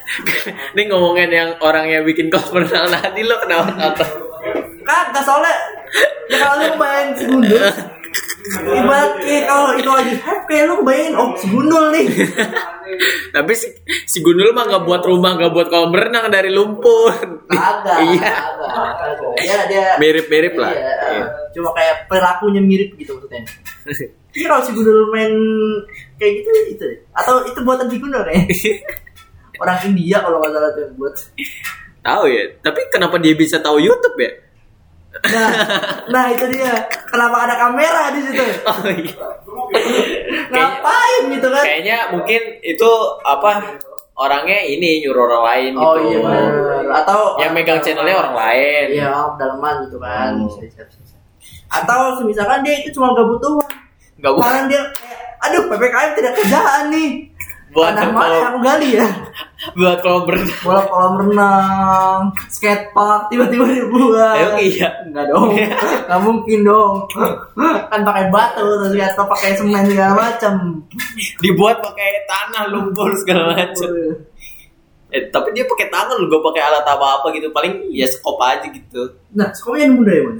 B: Ini ngomongin yang orangnya bikin kolam renang nanti lo kenapa nonton?
A: Kagak Kan, soalnya ya kalau lu main si gundul ibarat kayak kalau itu lagi hype kayak lu bayangin oh si gundul nih
B: Tapi si, si Gundul mah nggak buat rumah, nggak buat kolam renang dari lumpur.
A: kagak
B: iya.
A: kagak. dia dia
B: Mirip-mirip lah.
A: Iya,
B: Iya.
A: cuma kayak perilakunya mirip gitu maksudnya. Iya kalau si Gundul main kayak gitu itu atau itu buatan si Gundul ya?
B: Iya.
A: Orang India kalau nggak salah tuh yang buat.
B: Tahu ya. Tapi kenapa dia bisa tahu YouTube ya?
A: Nah, nah itu dia. Kenapa ada kamera di situ?
B: Oh, iya.
A: Ngapain gitu kan?
E: Kayaknya mungkin itu apa orangnya ini nyuruh orang lain
A: Oh
E: gitu.
A: iya benar. Atau
E: Yang megang channelnya orang lain.
A: Iya, orang daleman gitu kan.
E: Hmm.
A: Bisa, bisa, bisa. Atau misalkan dia itu cuma gabut doang.
E: Gak buat
A: Kemarin dia kayak, aduh PPKM tidak kerjaan nih.
E: buat
A: Tanah mana
E: kolam-
A: yang aku gali ya?
E: buat kolam berenang.
A: bola kolam renang, skatepark tiba-tiba dibuat.
E: Emang iya.
A: Enggak dong, nggak mungkin dong. Kan pakai batu terus ya, atau pakai semen segala macam.
E: Dibuat pakai tanah lumpur segala macam.
A: Terus
B: Eh, tapi dia pakai tangan loh, gak pakai alat apa-apa gitu. Paling ya sekop aja gitu.
A: Nah, sekolahnya yang muda ya, Bun?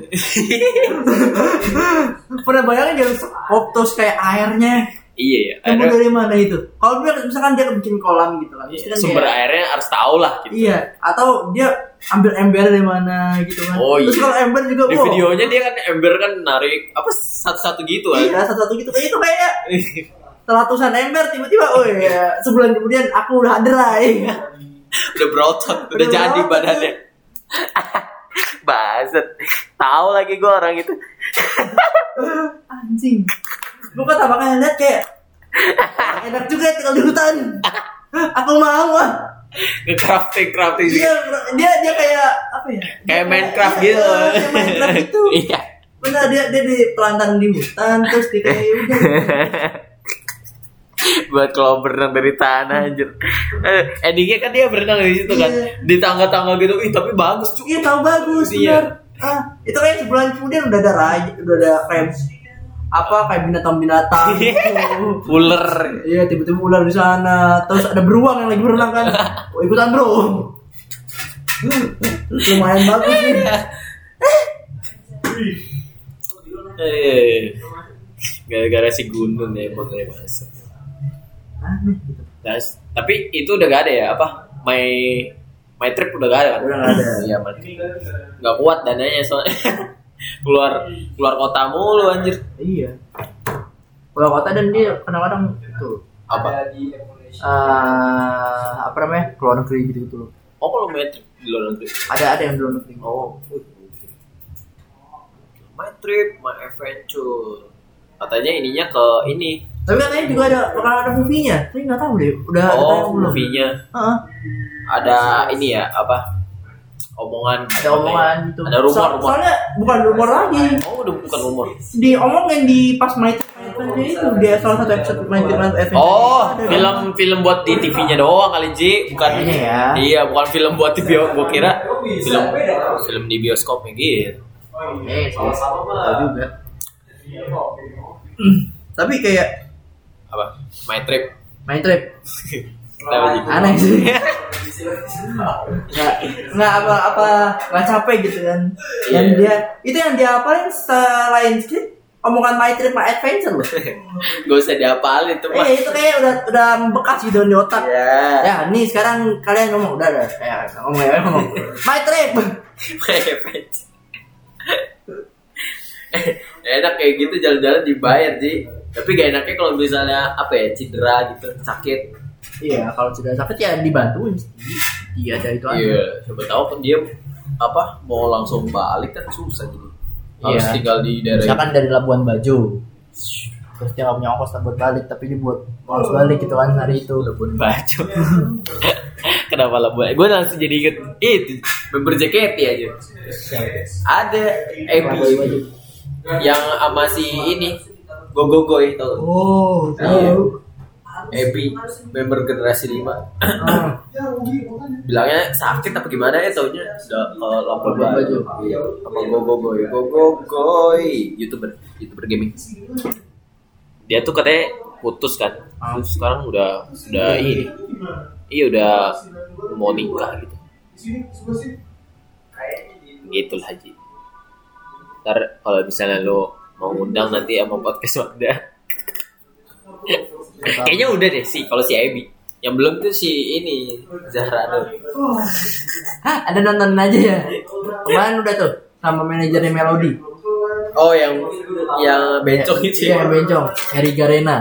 A: Pernah bayangin dia optos kayak airnya.
B: Iya ya.
A: Nemu
B: Akhirnya,
A: dari mana itu? Kalau dia misalkan dia bikin kolam gitu kan. Terus kan
B: Iya, sumber
A: kayak-
B: airnya harus tahu lah gitu.
A: Iya, atau dia ambil ember dari mana gitu kan.
B: Oh,
A: Terus
B: iya.
A: kalau ember juga
B: Di
A: wow,
B: videonya dia kan ember kan narik apa satu-satu gitu kan.
A: Iya, satu-satu gitu kayak itu kayak ratusan ember tiba-tiba oh ya sebulan kemudian aku udah ada lah ya.
B: udah berotot, udah,
A: Udah
B: jadi
A: berotot,
B: badannya. Baset. Tahu lagi gue orang itu.
A: anjing gue kata bakal lihat kayak enak juga ya tinggal di hutan aku mau ah
B: Nge-crafting, crafting
A: dia Iya, dia dia kayak apa ya
B: Kayak Minecraft
A: Iya,
B: gitu.
A: kayak Minecraft gitu
B: Iya.
A: benar dia dia di pelantang di hutan terus di kayak "Iya, udah
B: Buat kalau berenang dari tanah anjir. Eh, Endingnya kan dia berenang di situ kan.
A: Iya.
B: Di tangga-tangga gitu. Ih, tapi bagus cuy.
A: iya tahu bagus
B: Iya.
A: benar ah itu kayak sebulan kemudian udah ada raja udah ada kayak apa kayak binatang-binatang
B: Iya.
A: gitu.
B: Ular.
A: Iya tiba-tiba ular di sana, terus ada beruang yang lagi berenang kan, oh, ikutan bro. Terus lumayan bagus nih.
B: Eh, Gara-gara si gunung ya emang dari baset.
A: Aneh gitu.
B: Nah, s- tapi itu udah gak ada ya apa? My my trip udah gak ada kan?
A: Udah nggak ada.
B: Iya, my trip. Gak kuat dananya soalnya. keluar keluar kota mulu anjir.
A: Iya. Pulau kota dan dia kadang-kadang itu
B: Apa?
C: Ada di Indonesia.
A: eh apa namanya keluar negeri gitu gitu loh.
B: Oh, kalau my trip di luar negeri.
A: Ada ada yang keluar negeri.
B: Oh. My trip, my adventure. Katanya ininya ke ini.
A: Tapi katanya juga ada bakal ada movie-nya. Tapi nggak tahu deh. Udah ada tayang
B: Oh,
A: belum?
B: movie-nya
A: Heeh.
B: ada ini ya apa? Omongan.
A: Ada omongan gitu.
B: Ada rumor,
A: So-
B: rumor.
A: Soalnya bukan rumor lagi.
B: Oh, udah bukan rumor.
A: Diomongin di pas main itu dia salah satu episode main Adventure.
B: Oh,
A: Ada.
B: film film buat di TV-nya doang kali Ji, bukan
A: Kayaknya ya.
B: Iya, bukan film buat di bio, gua kira
C: Lo bisa,
B: film
C: beda kan?
B: film di bioskop ya gitu.
A: Eh,
C: Sama-sama mah.
A: Tahu juga.
F: Iya.
A: Tapi kayak
B: Apa? My Trip.
A: main trip
B: Tahu Ji.
A: aneh sih. nggak nggak apa apa nggak capek gitu kan. Dan
B: Iya.
A: dia itu yang dia apalin selain script omongan my trip my adventure loh.
B: Gak usah dihafalin tuh, Mas.
A: eh itu kayak udah udah membekas gitu di otak.
B: Ya.
A: Ya, nih sekarang kalian ngomong udah udah ya, ngomong ya ngomong. My trip.
B: My Trip. Eh, enak kayak gitu jalan-jalan dibayar Ji. Tapi gak enaknya kalau misalnya apa ya, cedera gitu, sakit.
A: Iya, kalau sudah sakit ya dibantuin. Iya, ada itu aja.
B: Iya, siapa tahu kan dia apa mau langsung balik kan susah jadi. Harus
A: Iya.
B: tinggal di daerah
A: misalkan dari Labuan Bajo terus dia nggak punya ongkos buat balik tapi dia buat harus balik gitu kan hari itu
B: Labuan Bajo. Kenapa Labuan? Gue langsung jadi inget itu member JKT aja. Ada
A: Iya,
B: Eh,
A: Labuan Bajo.
B: Ebi yang sama si ini Gogogoy tau
A: oh
B: Iya.
A: tahu
B: Ebi member generasi 5 bilangnya sakit apa gimana ya taunya udah ke Labuan
A: Labuan Bajo.
B: Bajo. Iya, sama Gogogoy. Gogogoy youtuber youtuber gaming. Dia tuh katanya putus kan. Terus sekarang
A: Ah.
B: udah udah ini. Iya udah mau nikah gitu. gitu lah Haji ntar kalau misalnya lo mau ngundang nanti sama podcast Wanda kayaknya udah deh sih kalau si Ebi yang belum tuh si ini Zahra tuh
A: Hah, ada nonton aja ya kemarin udah tuh sama manajernya Melody
B: oh yang yang bencong itu
A: iya
B: ya
A: bencong Harry Garena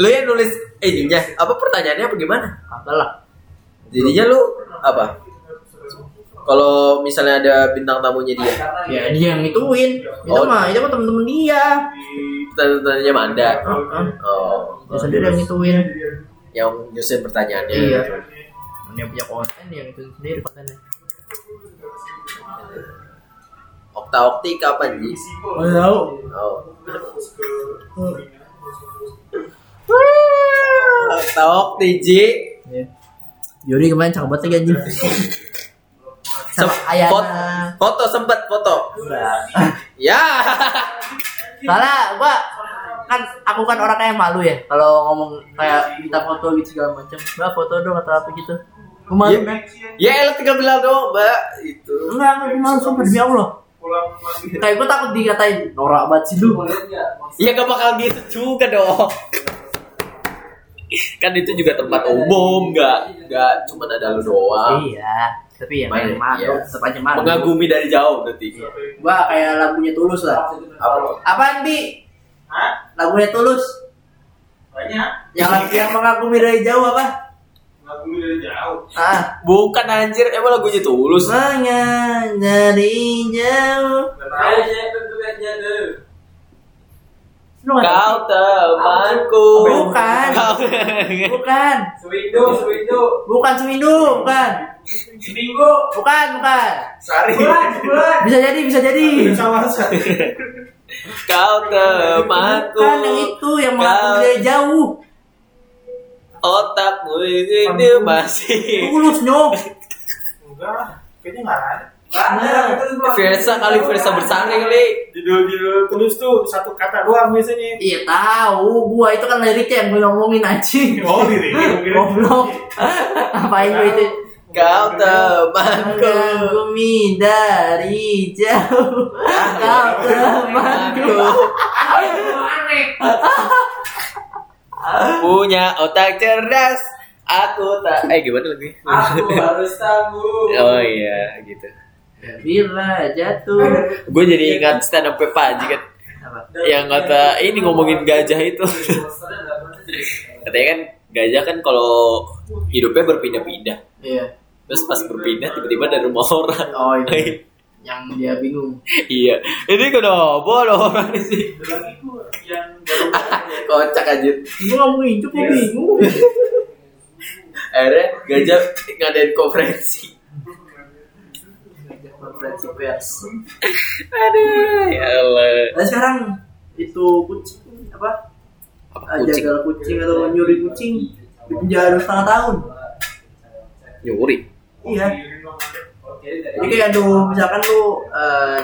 B: lo yang nulis ininya apa pertanyaannya apa gimana
A: apalah
B: jadinya lo apa kalau misalnya ada bintang tamunya dia
A: ya dia yang ngituin itu
B: Oh.
A: mah itu mah temen-temen dia
B: pertanyaannya Manda
A: Heeh.
B: oh
A: dia sendiri yang ngituin
B: yang nyusun pertanyaannya
A: Iya. dia punya konten dia yang ngituin sendiri kontennya
B: Okta Okti kapan Ji?
A: nggak tahu
B: Oh. Tok Tiji.
A: Iya. Yuri kemarin cakep banget lagi anjing. Sama
B: Sem-
A: Ayana.
B: fot- Foto sempet foto.
A: Enggak.
B: Ya.
A: Salah, gua kan aku kan orangnya malu ya kalau ngomong kayak kita foto gitu segala macam mbak foto dong atau apa gitu gue malu
B: Ya, ya elah tinggal bilang dong, Mbak. Itu.
A: enggak gue malu sumpah demi allah
F: pulang lagi
A: kayak gue takut dikatain norak banget sih lu
B: Ya gak bakal gitu juga dong.
H: kan itu juga tempat
B: Umum gak, gak cuma ada lu doang.
A: iya tapi ya
B: Main,
A: main malu
B: iya.
A: tetap aja malu
B: Mengagumi dari jauh berarti.
A: gue kayak lagunya tulus lah
B: Apa?
A: apaan bi
F: Hah?
A: lagunya tulus
F: Banyak.
A: yang yang mengagumi dari jauh apa
F: Ngagumi dari jauh.
A: ah
B: Bukan anjir, emang lagunya tulus.
A: Semangat dari jauh
F: Gak tahu.
A: Lu nggak tahu?
B: Kau temanku.
A: Bukan.
B: Kau-
A: Bukan
C: Suindo, Suindo.
A: Bukan seminggu Bukan
F: Seminggu.
A: Bukan Bukan
F: Sehari.
C: Bulan, bulan.
A: Bisa jadi Bisa jadi
F: Sama sehari.
B: Kau temanku.
A: Bukan yang itu Yang mengagumi dari jauh
B: Otakmu ini
F: Ampun.
B: masih.
A: Tulus nyok
F: Enggak. lah. Kayaknya nggak ada.
C: Nggak ada,
A: Nah.
C: itu semua.
B: Versa kali Versa bersaling kali.
F: Judul-judul tulus tuh satu kata doang biasanya.
A: Iya tahu Gua itu kan liriknya Yang gue ngomongin anjing
F: Oh, diri.
A: Goblok Apain gue itu
B: Kau temanku.
A: Mengagumi dari jauh Kau temanku
B: Punya otak cerdas, aku tak. Eh gimana lagi?
C: Aku harus tangguh.
B: Oh iya gitu.
A: Bila jatuh
B: Gue jadi ingat stand up Pak Haji Iya, kan
A: Apa?
B: yang kata ini ngomongin gajah itu. Katanya kan gajah kan kalau hidupnya berpindah-pindah.
A: Iya
B: Terus pas berpindah tiba-tiba dari rumah orang.
A: Oh ini yang dia bingung.
B: iya. Ini kenapa ada orang di sini?
F: Lagi tuh yang
B: Kocak aja.
A: Gue nggak mungkin itu, gue bingung.
B: Akhirnya gajah ngadain konferensi.
A: Konferensi pers.
B: Aduh, ya Allah.
A: Nah sekarang itu kucing apa?
B: Apa
A: Ah,
B: kucing?
A: Jagal kucing atau nyuri kucing di penjara setengah tahun.
B: Nyuri.
A: Iya. Jadi kayak aduh misalkan lu eh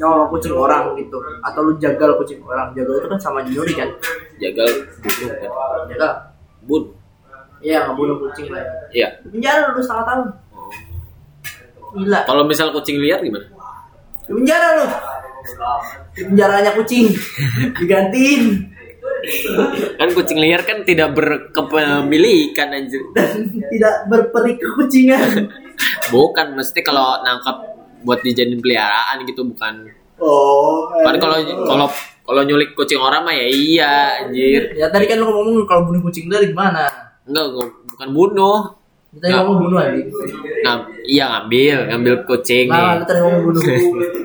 A: nyawa kucing orang gitu atau lu jagal kucing orang jagal itu kan sama nyuri kan
B: Jagal bunuh kan.
A: Iya. jagal
B: Bunuh.
A: iya ngebunuh kucing lah
B: Iya.
A: Di penjara lu setengah tahun gila
B: Kalau misal kucing liar gimana?
A: di penjara lu di penjaranya kucing digantiin
B: Kan kucing liar kan tidak berkepemilikan anjir.
A: dan tidak berperi kekucingan.
B: Bukan mesti kalau nangkap buat dijadiin peliharaan gitu bukan.
A: Oh.
B: Kan kalau kalau kalau nyulik kucing orang mah ya iya anjir.
A: ya tadi kan lu ngomong kalau bunuh kucing dari gimana?
B: Enggak, gua- bukan bunuh.
A: Kita yang
B: Nggak.
A: ngomong bunuh aja.
B: Ngam, iya ngambil, ngambil kucing
A: Nah,
B: nih.
A: lu tadi ngomong bunuh.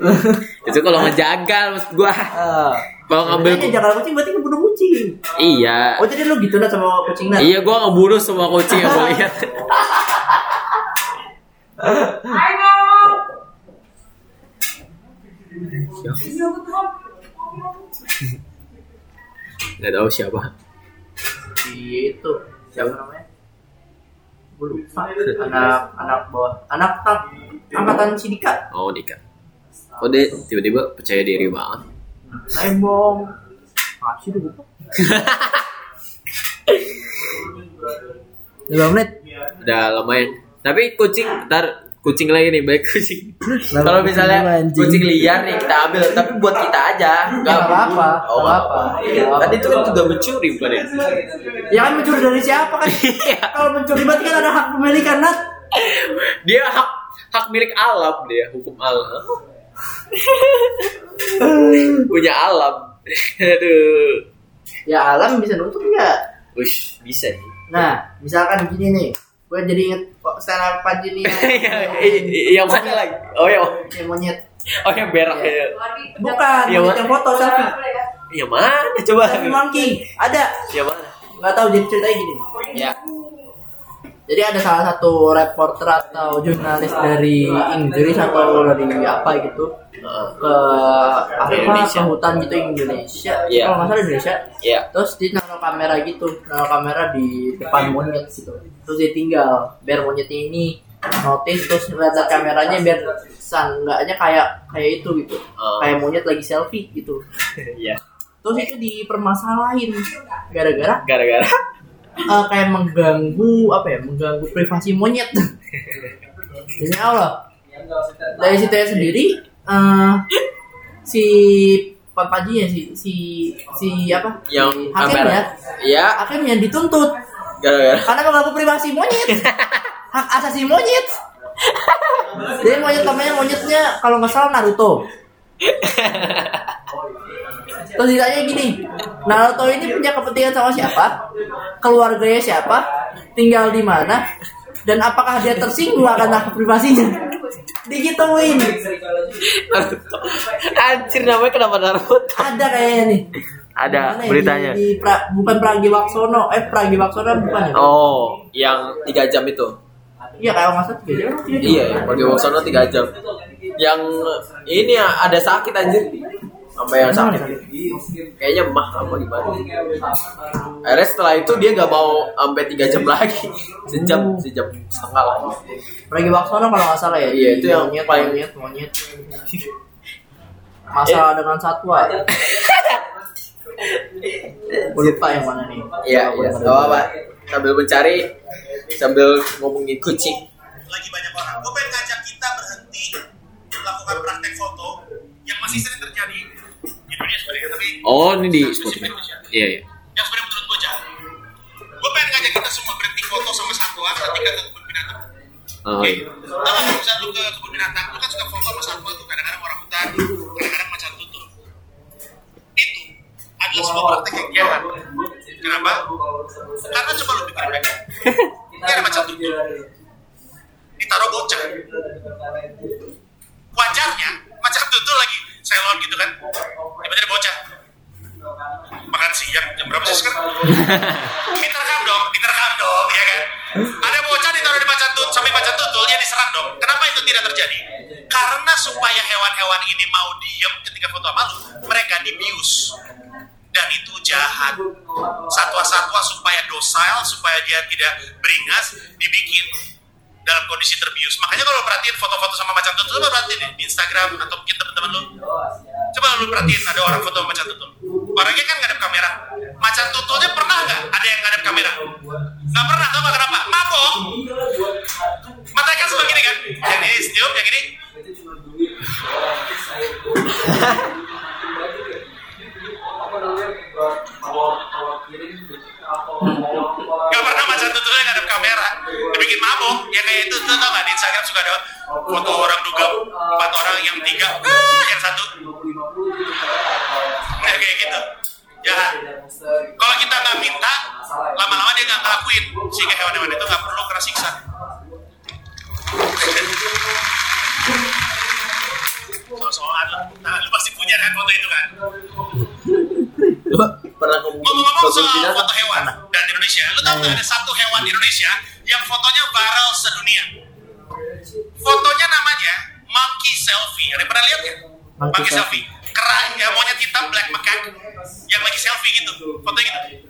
B: Itu kalau ngejagal maksud gua.
A: Ah.
B: Kalau ngambil
A: Makanya jagal kucing berarti ngebunuh kucing.
B: iya.
A: Oh jadi lu gitu nah sama kucing nah.
B: Iya, gua ngebunuh semua kucing yang gua lihat. Gak tahu siapa.
A: Gitu. Siapa namanya? Gue lupa. Anak anak bawah. Anak tang angkatan Sidika.
B: Oh, Dika. Oh, dia tiba-tiba percaya diri banget.
A: Nembong. Masih gitu. udah lupa. 5 menit.
B: Udah lumayan. Tapi kucing, ntar kucing lagi nih, baik kucing.
A: Lama
B: Kalau misalnya
A: kucing anjing.
B: kucing liar nih kita ambil, tapi buat kita aja. Nggak
A: Nggak apa-apa, nggak
B: Oh, nggak
A: apa-apa.
B: apa-apa. Tadi itu kan juga mencuri bukan ya?
A: Ya kan mencuri dari siapa kan? Kalau mencuri berarti kan ada hak pemilikan Nat.
B: Dia hak hak milik alam dia, hukum alam. Punya alam. Aduh.
A: Ya alam bisa nutup nggak?
B: Ush, bisa nih.
A: Nah, misalkan gini nih. Gue jadi inget kok stand up Panji nih.
B: yang,
A: iya.
B: yang mana lagi? Oh yang
A: Yang monyet.
B: oh yang berak ya.
A: Bukan,
B: Iya,
A: monyet
B: Mak.
A: yang foto selfie.
B: Yang mana coba?
A: Selfie monkey. Ada.
B: Yang mana?
A: Nggak tahu jadi ceritanya gini.
B: Ya.
A: Jadi ada salah satu reporter atau jurnalis dari Inggris atau dari apa gitu ke apa ke
B: Indonesia.
A: hutan gitu Indonesia.
B: Iya.
A: Kalau nggak salah Indonesia.
B: Ya.
A: terus dia naruh kamera gitu naruh kamera di depan monyet gitu terus dia tinggal biar monyetnya ini notice terus ngeliat kameranya biar seenggaknya kayak kayak itu gitu
B: Oh.
A: kayak monyet lagi selfie gitu
B: Iya.
A: terus itu dipermasalahin gara-gara
B: gara-gara
A: eh, kayak mengganggu apa ya mengganggu privasi monyet Demi Allah dari situ ya sendiri eh si papaji ya si si si apa
E: yang
A: Si hakim
E: kamera
A: ya
E: ya
A: hakim yang dituntut
E: gara-gara
A: karena mengganggu privasi monyet hak asasi monyet jadi monyet namanya monyetnya kalau nggak salah Naruto terus ditanya gini Naruto ini punya kepentingan sama siapa keluarganya siapa tinggal di mana dan apakah dia tersinggung akan hak privasinya digituin
B: anjir namanya kenapa Naruto
A: ada kayaknya nih
B: ada
A: Mana ya?
B: beritanya
A: Di- di Pra- bukan Pragiwaksono eh Pragiwaksono bukan ya
B: oh yang
E: tiga jam itu
A: iya kalau nggak salah tiga jam tiga jam.
E: iya yang pergi Wongsono tiga jam yang ini ya, ada sakit anjir sampai
B: Ya,
E: yang sakit kayaknya mah apa gimana akhirnya setelah itu dia gak mau sampai tiga jam lagi
B: Hmm.
E: sejam sejam setengah Iya, lagi
A: Regi Waksono kalau nggak salah ya.
E: Iya, itu yang
A: monyet,
E: paling-
A: monyet, monyet.
E: Eh.
A: Masalah dengan satwa. ya? Gua lupa yang mana nih.
E: Iya, iya, gak apa-apa. Sambil mencari, sambil ngomongin kucing.
I: lagi banyak orang. Gue pengen ngajak kita berhenti melakukan praktek foto yang masih sering terjadi di dunia sebenarnya, tapi
B: oh ini di Spotify iya iya
I: yang sebenarnya menurut gue jahat. Gue pengen ngajak kita semua berhenti foto sama satwa ketika ke kebun binatang.
B: oh iya
I: Lo nggak kalau misalnya lu ke kebun binatang, lu kan suka foto sama satwa tuh kadang-kadang orang hutan, kadang-kadang macan tutul. Itu adalah sebuah praktek yang jahat. Kenapa? Karena coba lu pikirin baik. Ini ada macan tutul, ditaruh bocah, wajahnya macam tutul lagi selon gitu kan tiba-tiba ada bocah makan siang jam berapa sih sekarang diterekam dong diterekam dong ya kan ada bocah ditaruh di macan tutul samping macan tutul dia diserang dong kenapa itu tidak terjadi karena supaya hewan-hewan ini mau diem ketika foto sama lu mereka dibius dan itu jahat satwa-satwa supaya docile supaya dia tidak beringas dibikin dalam kondisi terbius makanya kalau lu perhatiin foto-foto sama macan tutul coba perhatiin deh di Instagram atau mungkin teman-teman lu coba lu perhatiin ada orang foto sama macan tutul orangnya kan ngadep kamera macan tutulnya pernah nggak ada yang ngadep kamera nggak pernah tau nggak kenapa mabok matanya kan sebelah gini kan yang ini senyum yang ini Gak pernah macan tutulnya ngadep kamera Dibikin mabuk Ya kayak itu tuh tau gak di Instagram suka ada Foto orang duga Empat orang yang tiga ah, Yang satu Ya kayak gitu Jahat Kalau kita gak minta Lama-lama dia gak ngelakuin Sehingga hewan-hewan itu gak perlu kena siksa Soal-soal Nah lu pasti punya kan foto itu kan
E: Lu pernah ngomongin
I: Ngomong-ngomong
E: kucing
I: soal
E: binatang?
I: foto hewan dan di Indonesia, lu tahu nggak ada satu hewan di Indonesia yang fotonya viral sedunia? Fotonya namanya monkey selfie. Ada yang pernah lihat ya?
A: Monkey
I: Monkey selfie. Kera, ya monyet hitam, black macaque yang lagi selfie gitu, fotonya gitu.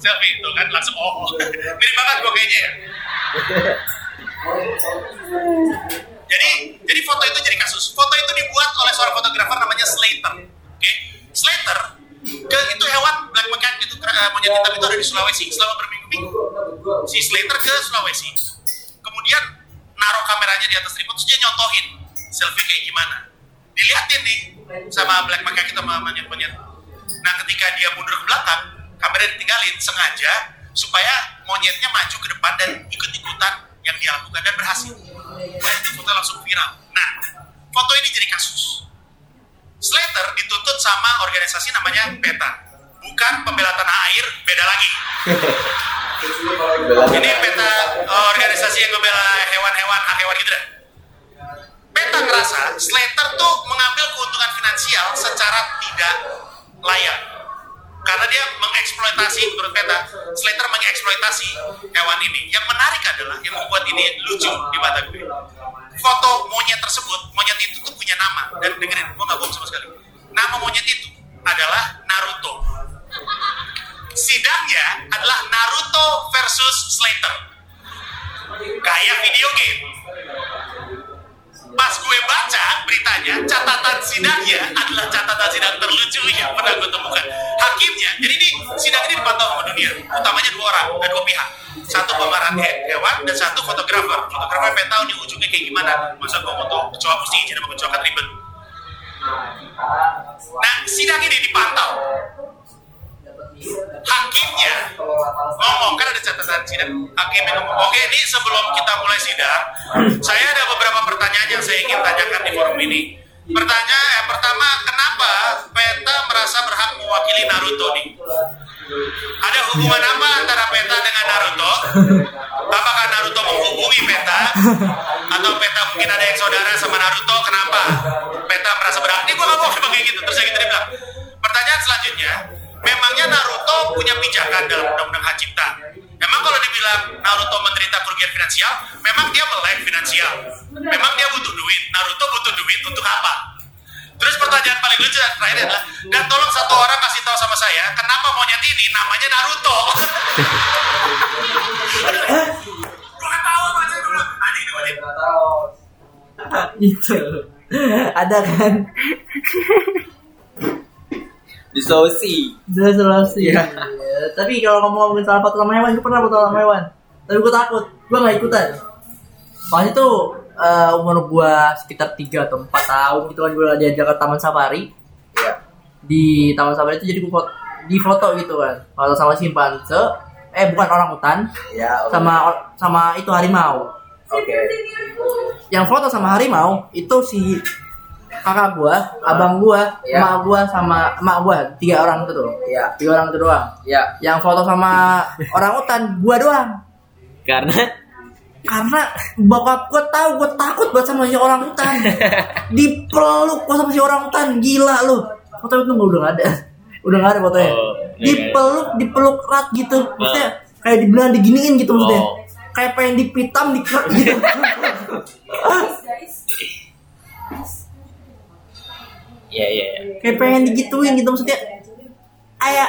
I: Selfie itu kan langsung oh, mirip banget gua kayaknya ya. Jadi jadi foto itu jadi kasus. Foto itu dibuat oleh seorang fotografer namanya Slater. Oke. Slater ke itu hewan black macan itu kera- eh, monyet hitam itu ada di Sulawesi selama berminggu-minggu. Si Slater ke Sulawesi. Kemudian naruh kameranya di atas tripod terus dia nyontohin selfie kayak gimana. Dilihatin nih sama black macan kita sama monyet-monyet. Nah, ketika dia mundur ke belakang, kamera ditinggalin sengaja supaya monyetnya maju ke depan dan ikut-ikutan yang dia lakukan dan berhasil. Dan itu foto langsung viral. Nah, foto ini jadi kasus. Slater dituntut sama organisasi namanya PETA. Bukan pembela tanah air, beda lagi. Ini PETA eh, organisasi yang membela hewan-hewan, hak hewan gitu dah. PETA ngerasa Slater tuh mengambil keuntungan finansial secara tidak layak. Karena dia mengeksploitasi, menurut PETA, Slater mengeksploitasi hewan ini. Yang menarik adalah, yang membuat ini lucu di mata gue. Foto monyet tersebut, monyet itu tuh punya nama. Dan dengerin, gue gak bohong sama sekali. Nama monyet itu adalah Naruto. Sidangnya adalah Naruto versus Slater. Kayak video game pas gue baca beritanya, catatan sidangnya adalah catatan sidang terlucu yang pernah gue temukan. Hakimnya, jadi ini sidang ini dipantau sama dunia, utamanya dua orang, ada dua pihak. Satu pemeran he- hewan dan satu fotografer. Fotografer pengen tahu nih ujungnya kayak gimana. Masa gue foto kecoa mesti izin sama kecoa kan ribet. Nah, sidang ini dipantau. Hakimnya ngomong, kan ada catatan sidang. Hakimnya ngomong, oke ini sebelum kita mulai sidang, saya ada beberapa pertanyaan yang saya ingin tanyakan di forum ini. Pertanyaan eh, pertama, kenapa Penta merasa berhak mewakili Naruto nih? Ada hubungan apa antara Penta dengan Naruto? Apakah kan Naruto menghubungi Penta? Atau Penta mungkin ada yang saudara sama Naruto? Kenapa? Penta merasa berhak. Ini gue gak mau bilang kayak gitu. Terus yang gitu dia bilang. Pertanyaan selanjutnya. Memangnya Naruto punya pijakan dalam Undang-Undang Hak Cipta? Memang kalau dibilang Naruto menderita kerugian finansial, memang dia melek finansial. Memang dia butuh duit. Naruto butuh duit untuk apa? Terus pertanyaan paling lucu dan terakhir adalah, dan tolong satu orang kasih tahu sama saya, kenapa monyet ini namanya Naruto? Gue gak tahu apa aja, gue bilang, anjing ini monyet.
A: Itu. Ada kan?
E: Di Sulawesi.
A: Jelas jelas sih. Iya. Tapi kalau ngomong-ngomongin soal foto sama hewan, gue pernah foto sama hewan. Tapi gue takut, gue gak ikutan. Soalnya tuh eh, umur gue sekitar 3 atau 4 tahun gitu kan gue diajak ke Taman Safari.
E: Iya.
A: Di Taman Safari itu jadi gue foto, di foto gitu kan. Foto sama simpanse, eh bukan orang hutan,
E: Ya, oke.
A: sama sama itu harimau.
E: Oke.
A: yang foto sama harimau itu si kakak gua, abang gua,
E: Iya.
A: emak gua sama emak gua tiga orang itu tuh.
E: Iya.
A: Tiga orang itu doang.
E: Ya.
A: Yang foto sama orang hutan gua doang.
B: Karena
A: Karena bokap gua tahu gua takut banget sama si orang hutan. Dipeluk gua sama si orang hutan, gila lu. Foto itu gua udah gak ada. Udah gak ada fotonya.
B: Oh, iya, iya.
A: dipeluk, dipeluk erat gitu. Maksudnya kayak dibilang diginiin gitu maksudnya.
B: Oh.
A: Kayak pengen dipitam, dikerak gitu.
B: Iya iya iya.
A: kayak pengen digituin gitu maksudnya ayah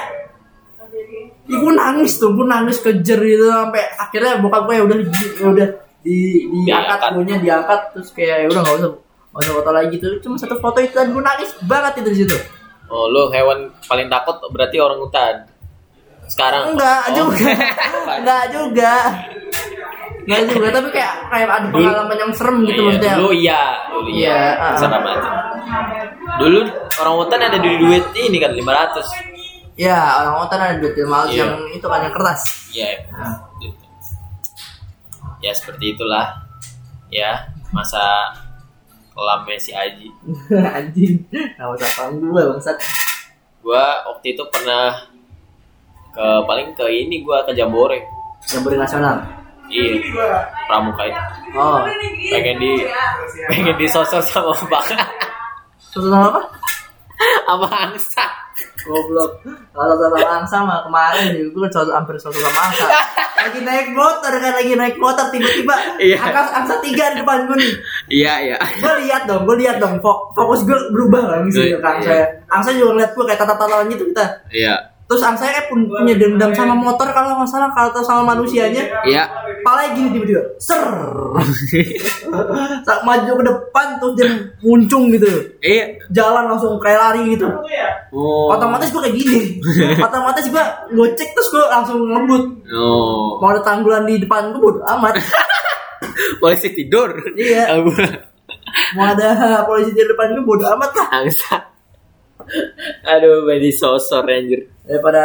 A: ya, gue nangis tuh gue nangis kejer gitu sampai akhirnya bokap gue ya udah di, ya udah di diangkat
B: Diangkat.
A: gue diangkat terus kayak ya udah nggak usah nggak usah foto lagi gitu cuma satu foto itu dan gue nangis banget itu di situ
B: Oh, lu hewan paling takut berarti orang hutan. Sekarang
A: enggak
B: Oh.
A: juga enggak juga enggak juga tapi kayak kayak ada pengalaman yang serem gitu
B: Iya,
A: maksudnya
B: Dulu iya, dulu iya.
A: Iya, ah.
B: Serem aja. Dulu orang hutan ada di duit ini kan 500.
A: ya orang otak ada duit mahal
B: Iya.
A: yang itu kan yang kertas
B: Iya. ya. Duit. Ya seperti itulah. Ya, masa kelamnya si Aji.
A: anjing nama satpam gue bangsat
B: Gua waktu itu pernah ke paling ke ini gua ke Jambore.
A: yang nasional
B: Iya. Pramuka itu.
A: oh
B: Pengen di pengen disosor sama bang
A: terus nama apa
B: sama angsa.
A: Goblok. Kalau sama angsa mah kemarin juga gue soal hampir soal sama angsa. Lagi naik motor kan lagi naik motor tiba-tiba
B: Iya.
A: angsa angsa tiga di depan gue nih.
B: Iya, iya.
A: Gue lihat dong, gue lihat dong. Fo- Fokus gue berubah lah misalnya ke angsa. ya.
B: Iya.
A: Angsa juga ngeliat gue kayak tatap-tatapan gitu kita.
B: Iya.
A: Terus angsa kayak pun punya dendam sama motor kalau nggak salah kalau sama manusianya.
B: Iya.
A: Palanya gini tiba-tiba, ser. Sak maju ke depan terus dia muncung gitu.
B: Iya.
A: Jalan langsung kayak lari gitu.
B: Oh.
A: otomatis gue kayak gini otomatis gue gocek terus gue langsung ngebut
B: Oh.
A: mau ada tanggulan di depan gue bodo amat
B: Polisi tidur.
A: Iya.
B: Aku
A: mau ada polisi di depan gue bodo amat lah
B: angsa. Aduh, body sosor anjir.
A: daripada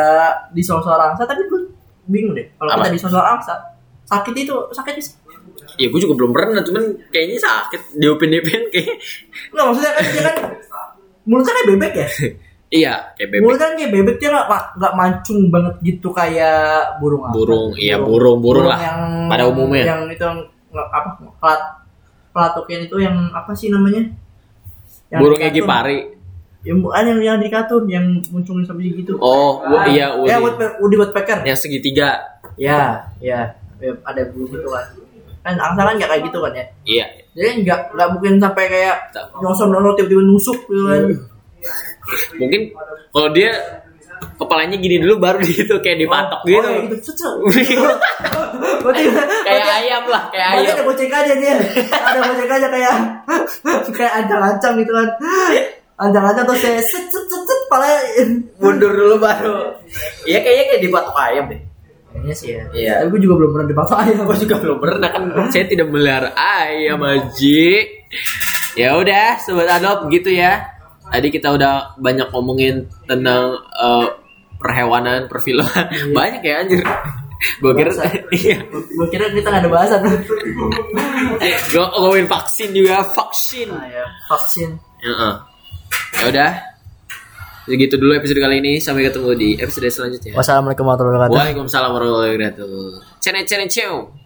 A: disosor angsa tapi gue bingung deh kalau kita
B: Apa?
A: disosor angsa sakit itu sakit itu
B: Ya gue juga belum pernah, cuman kayaknya sakit. Diupin-diupin kayak.
A: nggak maksudnya kan dia kan mulutnya kayak bebek ya
B: Iya, kayak bebek.
A: mulutnya kan kayak bebek dia nggak nggak mancung banget gitu kayak burung apa?
B: Burung, iya, burung- burung lah. Pada umumnya.
A: yang itu yang nggak- apa pelat pelatukin itu yang apa sih namanya Yang
B: Burung
A: di
B: Egi
A: kartun.
B: pari.
A: Ya, bukan yang yang di kartun yang muncul sampai gitu.
B: Oh, wo- iya, Uri.
A: ya, Woodpe- Woody Woodpecker. Ya,
B: Yang segitiga.
A: ya, Ya, ada bulu gitu kan. Kan angsa kan nggak kayak gitu kan ya.
B: Iya.
A: Jadi nggak nggak mungkin sampai kayak
B: Tak.
A: nyosor nyosor tiba-tiba nusuk gitu kan.
B: Mungkin kalau dia kepalanya gini dulu baru di itu kayak dipatok
A: Oh,
B: gitu.
A: kayak gitu. Cucu. Berarti
B: kayak ayam lah, kayak
A: Berarti
B: ayam.
A: ada bocek aja dia. Ada bocek aja kayak kayak ancang-ancang gitu kan. Ancang-ancang terus saya set set set set pala.
E: mundur dulu baru iya kayaknya kayak dipatok ayam deh
A: Kayaknya sih ya.
E: Iya.
A: Tapi gue juga belum pernah dipatok ayam.
E: gue juga belum pernah kan
B: Saya tidak melihara ayam Haji. Ya udah, sobat adop gitu ya. Tadi kita udah banyak ngomongin tentang eh, perhewanan, perfilman. Banyak ya anjir. Gue kira iya.
A: Gue kira kita gak ada bahasan.
B: Gue ngomongin vaksin juga, vaksin.
A: Nah, ya, vaksin.
B: Heeh. Ya udah. Segitu dulu episode kali ini. Sampai ketemu di episode selanjutnya.
A: Wassalamualaikum warahmatullahi wabarakatuh.
B: Waalaikumsalam warahmatullahi wabarakatuh. Cene cene ciao.